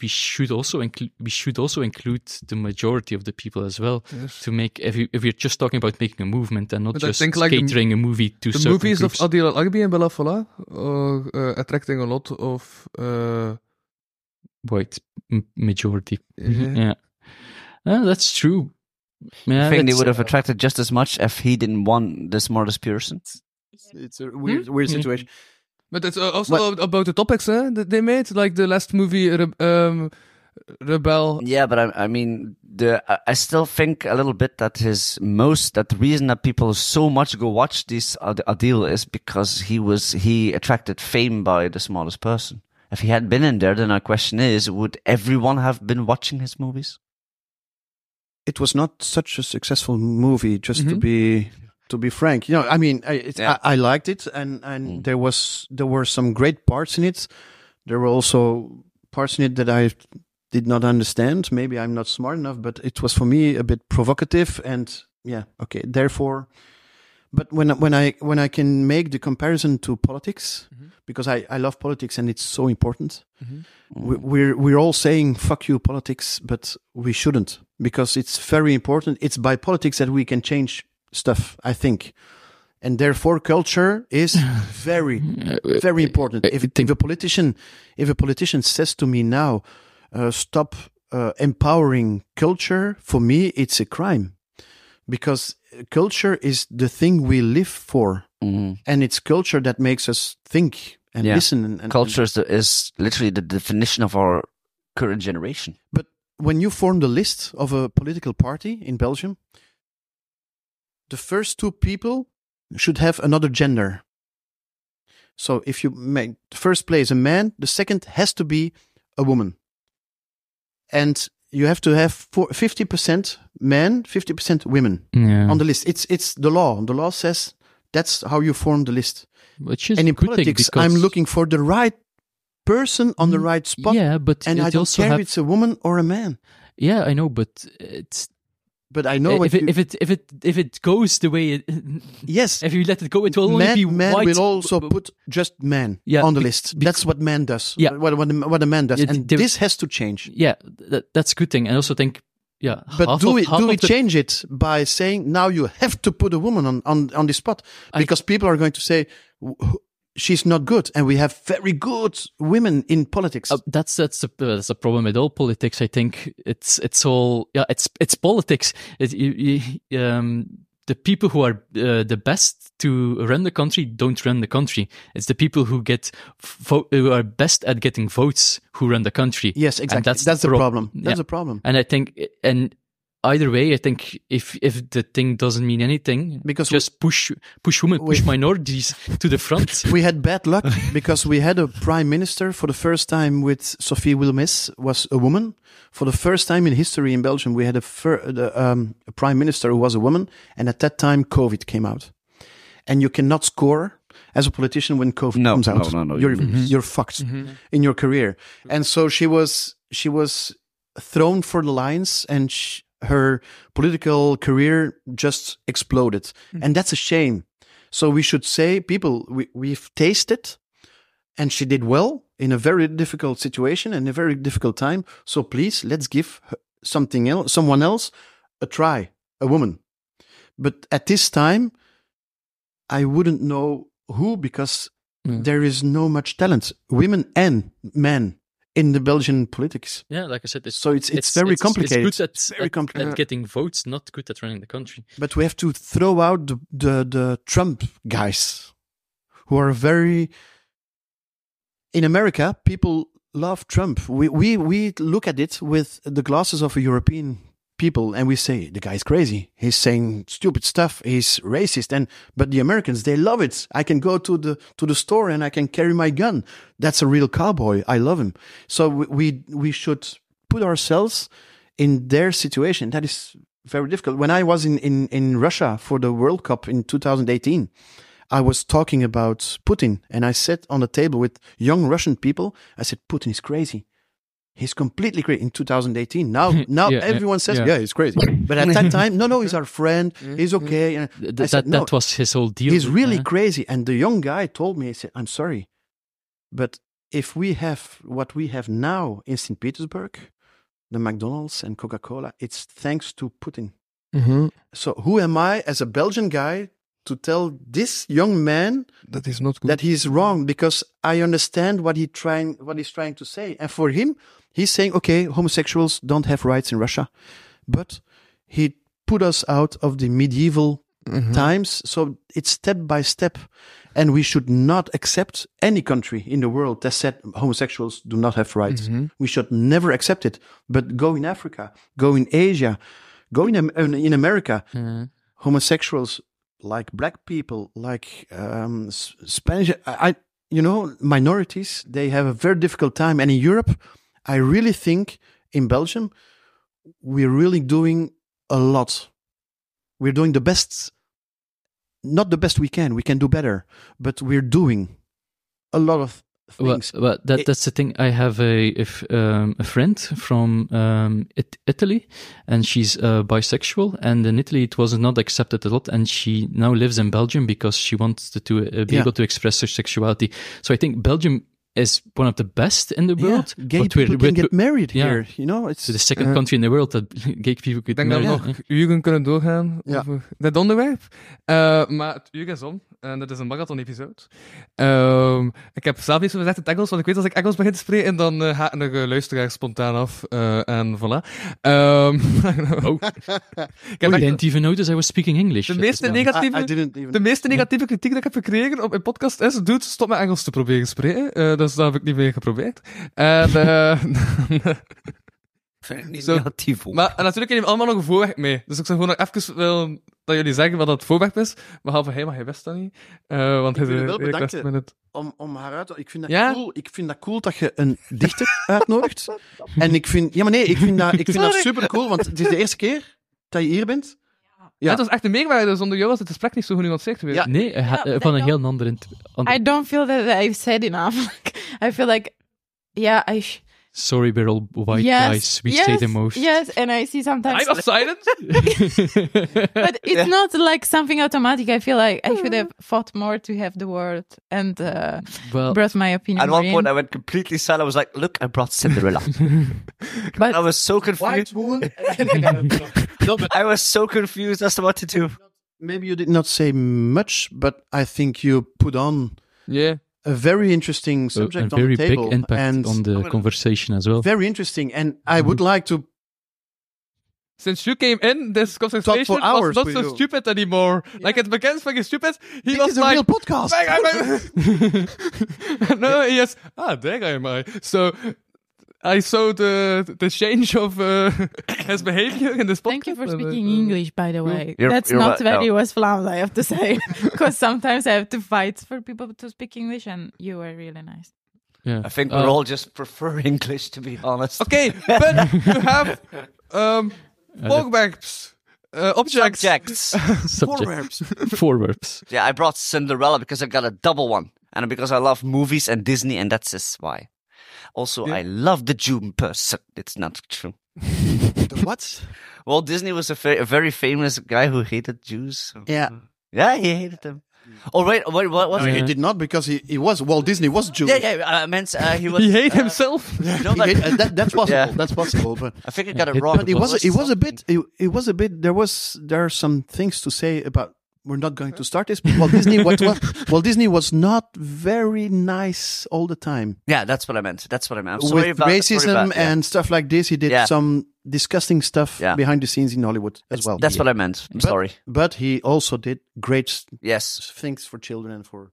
we should also include we should also include the majority of the people as well to make if you if you're just talking about making a movement and not But I just think, like, the- catering a movie to The certain movies groups. of Adil Al-Arbi and Bella Fola are uh, attracting a lot of... Uh, white m- majority. Mm-hmm. yeah. Yeah, Uh, that's true. Yeah, uh, I think they that's- would have attracted just as much if he didn't want the smartest person. It's a weird, weird Hmm? situation. But it's uh, also about the topics huh, that they made, like the last movie, Re- um, Rebel. Yeah, but I, I mean, the I- I still think a little bit that his most that the reason that people so much go watch this Ad- Adil is because he was he attracted fame by the smallest person. If he had been in there, then our question is: Would everyone have been watching his movies? It was not such a successful movie, just to Mhm. be to be frank. You know, I mean, I, it, Mm-hmm. Yeah. I, I liked it, and and Mm. there was there were some great parts in it. There were also parts in it that I did not understand. Maybe I'm not smart enough, but it was for me a bit provocative, and yeah, okay. Therefore, but when I- when I when I can make the comparison to politics, Mm-hmm. because I I love politics and it's so important. We- We're we're all saying fuck you politics, but we shouldn't because it's very important. It's by politics that we can change stuff, I think, and therefore culture is very Uh, very important. If, if a politician if a politician says to me now, uh, stop uh, empowering culture, for me it's a crime because uh, culture is the thing we live for, and it's culture that makes us think and Yeah. listen and, and Culture is, the, is literally the definition of our current generation. But when you form the list of a political party in Belgium, the first two people should have another gender. So if you make the first place a man, the second has to be a woman. And you have to have four- 50% men, 50% women yeah, on the list. It's, it's the law. The law says that's how you form the list. which is and in good thing politics, because- Mm, I'm looking for the right person on the right spot. Yeah, but and it I don't also care have- if it's a woman or a man. yeah, I know, but it's But I know Eh, if, what it, you- if it if it if it goes the way it, yes, if you let it go, it will only be man, man white. will also put just man Yeah, on the be- list. be- That's what man does. Yeah. what what, a- what a man does, Yeah, and there- this has to change. yeah, that, that's a good thing. I also think, yeah, But half do of- we half do we of the- change it by saying now you have to put a woman on on on the spot I- because people are going to say "Wh- she's not good, and we have very good women in politics. Uh, that's that's the uh, that's the problem with all politics. I think it's it's all yeah, it's it's politics. It, you, you, um, the people who are uh, the best to run the country don't run the country. It's the people who get vo- who are best at getting votes who run the country. yes, And exactly. That's, the prob- problem. Yeah. That's the problem. And I think, and either way, I think if if the thing doesn't mean anything, Because we- just push push women, push we- minorities to the front. we had bad luck because we had a prime minister for the first time with Sophie Wilmes was a woman. For the first time in history in Belgium, we had a, fir- the, um, a prime minister who was a woman, and at that time, COVID came out. And you cannot score as a politician when COVID No, comes no, out. no, no, you're you Mm-hmm. you're fucked in your career. And so she was she was thrown for the lines, and sh her political career just exploded. And that's a shame. So we should say, people, we, we've tasted, and she did well in a very difficult situation and a very difficult time. So please, let's give her- something else, someone else, a try, a woman. But at this time, I wouldn't know who because Ja. there is no much talent, women and men, in the Belgian politics. Yeah, like I said, it's So it's it's, very complicated. It's good at, very at- complicated. at getting votes, not good at running the country. But we have to throw out the, the, the Trump guys who are very. In America, people love Trump. We, we, we look at it with the glasses of a European people and we say, the guy's crazy. He's saying stupid stuff. He's racist. And, but the Americans, they love it. I can go to the, to the store and I can carry my gun. That's a real cowboy. I love him. So we, we, we should put ourselves in their situation. That is very difficult. When I was in, in, in Russia for the World Cup in 2018, I was talking about Putin and I sat on the table with young Russian people. I said, Putin is crazy. He's completely crazy in 2018. Now, now Yeah, yeah, everyone says, yeah. yeah. he's crazy. But at that time, no, no, he's our friend. He's okay. And Th- I That, said, no, that was his whole deal. he's really yeah. crazy. And the young guy told me, he said, I'm sorry, but if we have what we have now in St. Petersburg, the McDonald's and Coca Cola, it's thanks to Putin. Mhm. So who am I as a Belgian guy to tell this young man Dat is not goed. that he's wrong? Because I understand what he trying what he's trying to say. And for him, he's saying, okay, homosexuals don't have rights in Russia. But he put us out of the medieval times. So it's step by step. And we should not accept any country in the world that said homosexuals do not have rights. We should never accept it. But go in Africa, go in Asia, go in, Am- in America. Homosexuals like black people, like um, S- Spanish, I, I- you know, minorities, they have a very difficult time. And in Europe, I really think in Belgium, we're really doing a lot. We're doing the best, not the best we can. We can do better, but we're doing a lot of Well, things. well, that, It- that's the thing. I have a if, um, a friend from um, it, Italy, and she's uh, bisexual. And in Italy, it was not accepted a lot. And she now lives in Belgium because she wants to, to uh, be Yeah. able to express her sexuality. So I think Belgium is one of the best in the world. yeah, gay but we're- people we're- can get Uh-huh. married yeah. here. You know, it's to uh, the second Eh. country in the world that gay people could Ik denk dat we marry. nog uren kunnen doorgaan Ja. over dit onderwerp. Eh, maar het uur is om. En dat is een marathon-episode. Ehm, ik heb zelf iets over gezegd in het Engels, want ik weet als ik Engels begin te spreken, dan eh, haken er eh, luisteraars spontaan af. eh, en voilà. Ehm, Oh. ik heb I echt didn't even notice I was speaking English. de That is meeste why. I, negatieve... I didn't even. De meeste negatieve kritiek die ik heb gekregen op mijn podcast is, dude, stop met Engels te proberen spreken. Eh, dus dat heb ik niet meer geprobeerd. En, eh, Vind ik niet Zo. negatief ook. maar en natuurlijk neem allemaal nog een voorwerp mee. Dus ik zou gewoon nog even willen dat jullie zeggen wat dat voorwerp is. Behalve hij, maar hij wist dat niet. Eh, want Ik hij wil je wel hij bedanken. kwast me het. om, om haar uit te- Ik vind, dat Ja? cool. ik vind dat cool dat je een dichter uitnodigt. En ik vind... Ja, maar nee, ik vind dat, ik vind dat Sorry. super cool, want het is de eerste keer dat je hier bent. Ja. Het was echt een meerwaarde, zonder jou was het gesprek niet zo genuanceerd geweest. Ja. Nee, hij had, Ja, eh, van een dat- heel ander... int- ander- I don't feel that I've said enough. Like, I feel like, yeah, I. Sh- Sorry, we're all white yes, guys. We yes, say the most. Yes, and I see sometimes, I was silent. but it's not like something automatic. I feel like I Mm. should have fought more to have the word and uh, Well, brought my opinion. At one more point, I in. went completely silent. I was like, look, I brought Cinderella. But- I was so confused. White woman. No, but I was so confused as to what to do. maybe you did not say much, but I think you put on Yeah. a very interesting a, subject a on very the table. big impact and on the Mm-hmm. conversation as well. Very interesting. And I would like to... Since you came in, this Talk conversation for hours was not with so you. stupid anymore. Like, it begins fucking stupid. He This was is a like, real podcast. Bang, I- I- no, yes. Ah, there I am. I. So I saw the the change of uh, his behavior in this podcast. Thank you for and, uh, speaking English, by Mm. the way. You're- That's you're not right, very yeah. West Vlaams, I have to say, because sometimes I have to fight for people to speak English, and you were really nice. Yeah. I think we're Uh, all just prefer English, to be honest. Okay, but you have um, forwards, uh, objects. Subjects. subject. Four verbs. yeah, I brought Cinderella because I got a double one, and because I love movies and Disney, and that's just why. Also, I love the June person. It's not true. What? Walt Disney was a, fa- a very famous guy who hated Jews. so- Yeah. Yeah, he hated them. Oh wait, wait, what was? No, it? he did not because he, he was... Walt Disney was Jewish. Yeah, yeah. I meant uh, he was. He hate uh, himself. you know, He like- did- uh, that, that's possible. Yeah. That's possible. But I think I got Yeah, it it- wrong. but it was it was a something. bit it, it was a bit there was there are some things to say about we're not going to start this. But Walt Disney, what, what, Walt Disney was not very nice all the time Yeah, that's what I meant. That's what I meant. I'm sorry with about racism sorry about- yeah. and stuff like this. He did Yeah. some disgusting stuff Yeah. behind the scenes in Hollywood as well. That's what I meant. I'm But- sorry. But he also did great s- Yes. things for children and for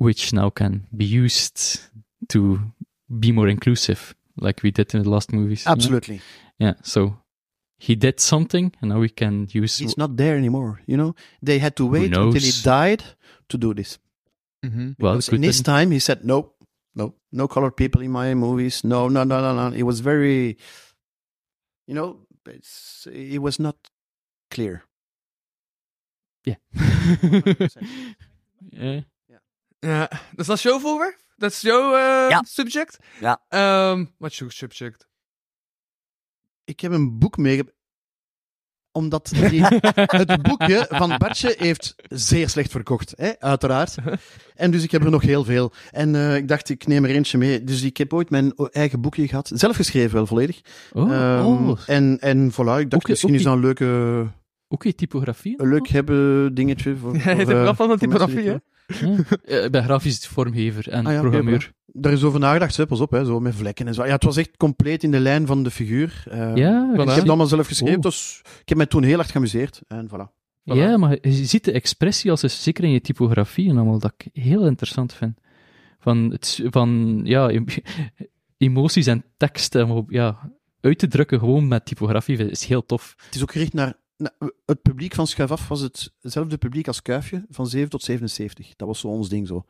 which now can be used to be more inclusive, like we did in the last movies. you know? absolutely. Yeah, so he did something, and now we can use. He's not there anymore. You know, they had to wait until he knows? died to do this. well, Because in good his then. time, he said, "Nope, no, no colored people in my movies. No, no, no, no, no." It was very, you know, it's, it was not clear. Yeah. yeah. Ja, dus dat is jouw voorwerp? Dat is jouw eh, Ja. subject? Ja. Ehm, wat is jouw subject? Ik heb een boek mee, omdat die- het boekje van Bartje heeft zeer slecht verkocht, hè? uiteraard. En dus ik heb er nog heel veel. En eh, ik dacht, ik neem er eentje mee. Dus ik heb ooit mijn o- eigen boekje gehad, zelf geschreven wel volledig. Oh, Ehm, oh. En, en voilà, ik dacht, Ook- misschien ook die- is dat een leuke, Oké, typografie. een leuk hebben dingetje. Voor, Hij heeft voor, eh, wel van de voor mensen die typografie, hè? Ja. Eh, Ik ben grafisch vormgever en Ah ja, oké, programmeur. Daar is over nagedacht, hè? pas op, hè? zo met vlekken en zo. Ja, het was echt compleet in de lijn van de figuur. Eh, ja, ik ik heb zie- het allemaal zelf geschreven, Oh. dus ik heb mij toen heel hard geamuseerd. En voilà. Voilà. ja, maar je ziet de expressie als is zeker in je typografie en allemaal dat ik heel interessant vind. Van, het, s- van ja, em- emoties en teksten om op- ja, uit te drukken gewoon met typografie vind- is heel tof. Het is ook gericht naar... naar- het publiek van Schuif Af was hetzelfde publiek als Kuifje, van 7 tot 77. Dat was zo ons ding zo.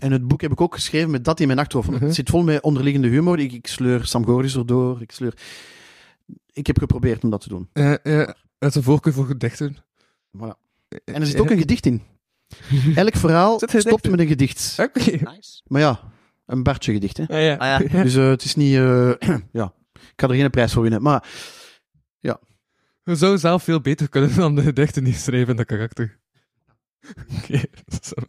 En het boek heb ik ook geschreven met dat in mijn achterhoofd. want Mhm. Het zit vol met onderliggende humor. Ik, ik sleur Sam Goris erdoor, ik sleur... Ik heb geprobeerd om dat te doen. Eh, eh, het is een voorkeur voor gedichten. Voilà. En er zit ook een gedicht in. Elk verhaal Zit er gedicht stopt in? met een gedicht. Oké. Nice. Maar ja, een Bartje gedicht, hè. Ah, ja. Ah, ja. Dus eh, het is niet... eh, ja, ik kan er geen prijs voor winnen. Maar Je zou zelf veel beter kunnen dan de gedichten die schrijven in dat karakter. Oké. dat is wel-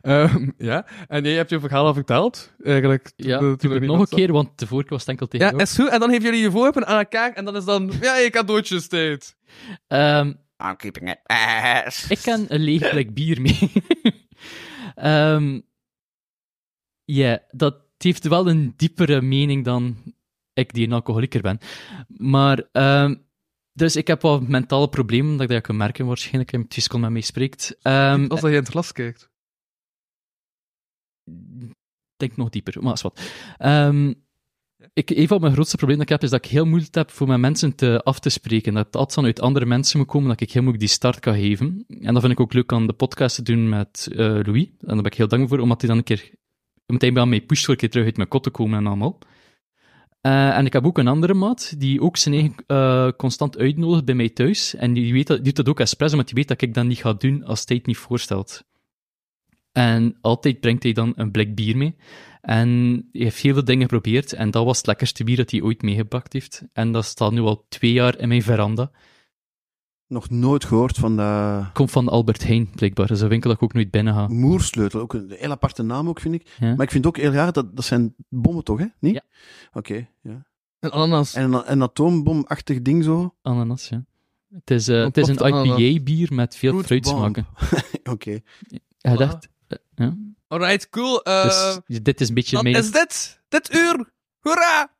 Ehm, ja, en jij hebt je verhaal al verteld. Eigenlijk, Ja, toen- toen er nog een niemand keer, want de vorige was het enkel tegen Ja, jou. is goed. En dan geven jullie je voorwerpen aan elkaar en dan is dan... Ja, je cadeautjes tijd. Ehm, I'm keeping it. Ah. Ik kan een lege plek bier mee. Ehm, ja, dat heeft wel een diepere mening dan ik die een alcoholieker ben. Maar, ehm, dus ik heb wel mentale problemen, dat ik dat kan merken waarschijnlijk, en Tiscon met mij spreekt. Ehm, Als dat je in het glas kijkt. denk nog dieper, maar is wat. Ehm, ik, een van mijn grootste problemen dat ik heb, is dat ik heel moeilijk heb voor mijn mensen te, af te spreken. Dat het altijd vanuit andere mensen moet komen, dat ik heel moeilijk die start kan geven. En dat vind ik ook leuk aan de podcast te doen met eh, Louis. En daar ben ik heel dankbaar voor, omdat hij dan een keer meteen bij mij pusht voor een keer terug uit mijn kot te komen en allemaal. Eh, en ik heb ook een andere maat, die ook zijn eigen eh, constant uitnodigt bij mij thuis. En die, weet dat, die doet dat ook expres, maar die weet dat ik dat niet ga doen als hij het niet voorstelt. En altijd brengt hij dan een blik bier mee. En hij heeft heel veel dingen geprobeerd. En dat was het lekkerste bier dat hij ooit meegebracht heeft. En dat staat nu al twee jaar in mijn veranda. nog nooit gehoord van de Komt van Albert Heijn, blijkbaar. Dat is een winkel dat ik ook nooit binnen ga. moersleutel. Ook een heel aparte naam, ook, vind ik. Ja. Maar ik vind het ook heel raar, dat, dat zijn bommen toch, hè? Niet? Ja. Oké, ja. Een ananas. En een, een atoombomachtig ding zo. Ananas, ja. Het is, eh, Een het is een plofte ananas. IPA-bier met veel Fruit fruitsmaken. Oké. Hij Voilà. dacht, eh, ja. Alright, cool. Eh dus dit is een beetje dat mijn... is dit. Dit uur. Hoera.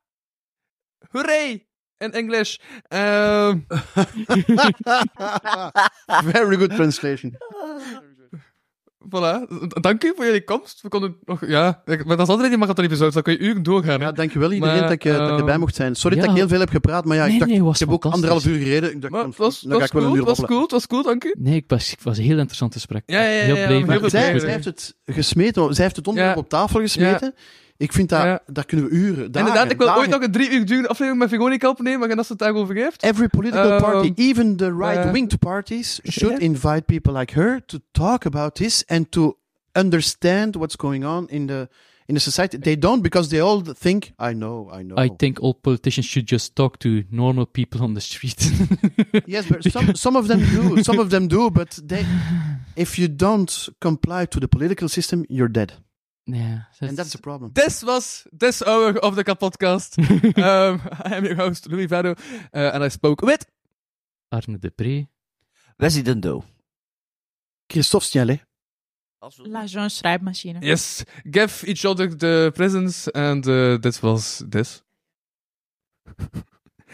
Hooray. In Engels. Ehm, Very good translation. voilà. D- Dank u voor jullie komst. We konden nog... Ja, ik- maar dat is altijd in marathon episodes. Dan kun je uren doorgaan. hè. Ja, dankjewel iedereen Maar, dat, ik, eh, dat ik erbij ehm, mocht zijn. Sorry ja. dat ik heel veel heb gepraat, maar ja, Nee, ik dacht, nee, was ik heb ook fantastisch. anderhalf uur gereden. Ik dacht, Maar dan, het was, dan ga was ik wel cool, een het uur was babbelen. cool, het was cool, dank u. Nee, ik was, ik was een heel interessant gesprek. Ja, ja, ja, heel ja, blij maar heel met- veel Zij, plezier. zij heeft het gesmeten, zij heeft het onderwerp Ja. op tafel gesmeten. Ik vind dat, Ja. daar kunnen we uren, dagen, Inderdaad, ik wil dagen- ooit nog een drie uur durende aflevering met Veronica opnemen, maar als het daarover heeft. Every political Ehm, party, even the right-winged eh, parties, should ja. invite people like her to talk about this and to understand what's going on in the in the society. They don't because they all think, I know, I know. I think all politicians should just talk to normal people on the street. Yes, but some, some of them do. Some of them do, but they, if you don't comply to the political system, you're dead. Ja, dat And is- that's the problem. This was this hour of the podcast. um, I am your host, eh, Louis Vado, uh, and I spoke with Arne Depree. Wesley Dundo. Christophe Snellet. La Jean schrijfmachine. Yes. Give each other the presents and uh, this was this.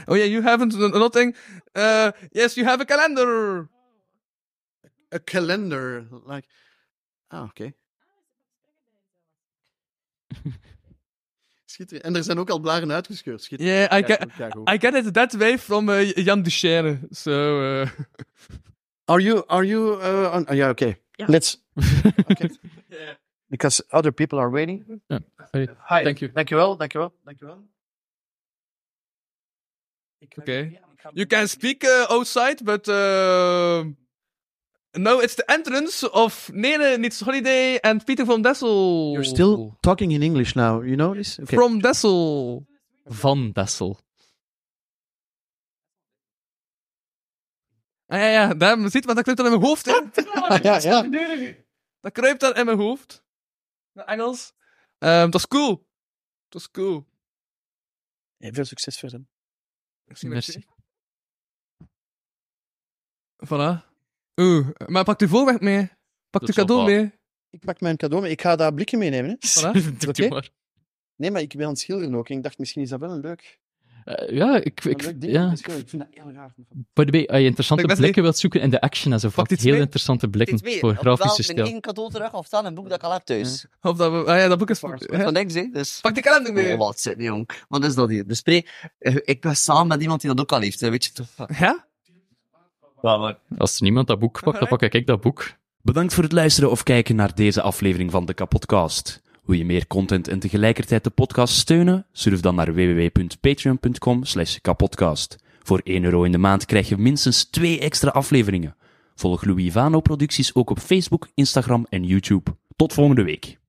oh yeah, you haven't n- nothing. Uh, yes, you have a calendar. A calendar. Like... Ah, oké. Schitterend. En er zijn ook al blaren uitgescheurd. Schitterend. Yeah, I Kijk get, goed, kijk goed. I get it that way from uh, Jan Duchesne. So uh, Are you, are you, uh, on- oh, ja, oké. Let's, because other people are waiting. Hi. Thank you. Dankjewel, dankjewel, dankjewel. okay, you can speak uh, outside, but uh, now it's the entrance of Nene Niets Holiday and Peter van Dessel. You're still talking in English now, you know this? Oké. from Dessel. Van Dessel. Ah, ja, ja, daar ziet, want dat kruipt dan in mijn hoofd in. ja, ja. Dat kruipt dan in mijn hoofd. De Engels. Ehm, dat is cool. Dat is cool. Ja, Veel succes verder. Merci, Merci. Voilà. Oeh, maar pak de voorwerp mee. Pak Dat de zal cadeau wel. mee. Ik pak mijn cadeau mee. Ik ga daar blikken meenemen. Hè? Voilà. Doe Oké. maar. Nee, maar ik ben aan het schilderen ook. En ik dacht, misschien is dat wel een leuk, Eh, ja, ik, een ik, leuk ding. om ja. te schilderen. Ik vind dat heel raar. By the way, als ah, je interessante Ik ben blikken wilt zoeken in de action enzovoort, Pak dit heel mee. interessante blikken Iets meer. voor grafische Ofwel stijl. mijn één cadeau terug, of dan een boek dat ik al heb thuis. Of dat we... Ah dus ja, dat boek is... Dat is hè? van niks, hè. Dus... Pak de kalender mee. Oh, wat zit niet, jong. Wat is dat hier? Dus pre, eh, ik was samen met iemand die dat ook al heeft, hè, weet je toch? Ja? Ja, maar... Als er niemand dat boek pakt, dan pak ik dat boek. Bedankt voor het luisteren of kijken naar deze aflevering van de Kapodcast. Wil je meer content en tegelijkertijd de podcast steunen? Surf dan naar www.patreon.com slash kapodcast. Voor 1 euro in de maand krijg je minstens 2 extra afleveringen. Volg Louis Vano producties ook op Facebook, Instagram en YouTube. Tot volgende week.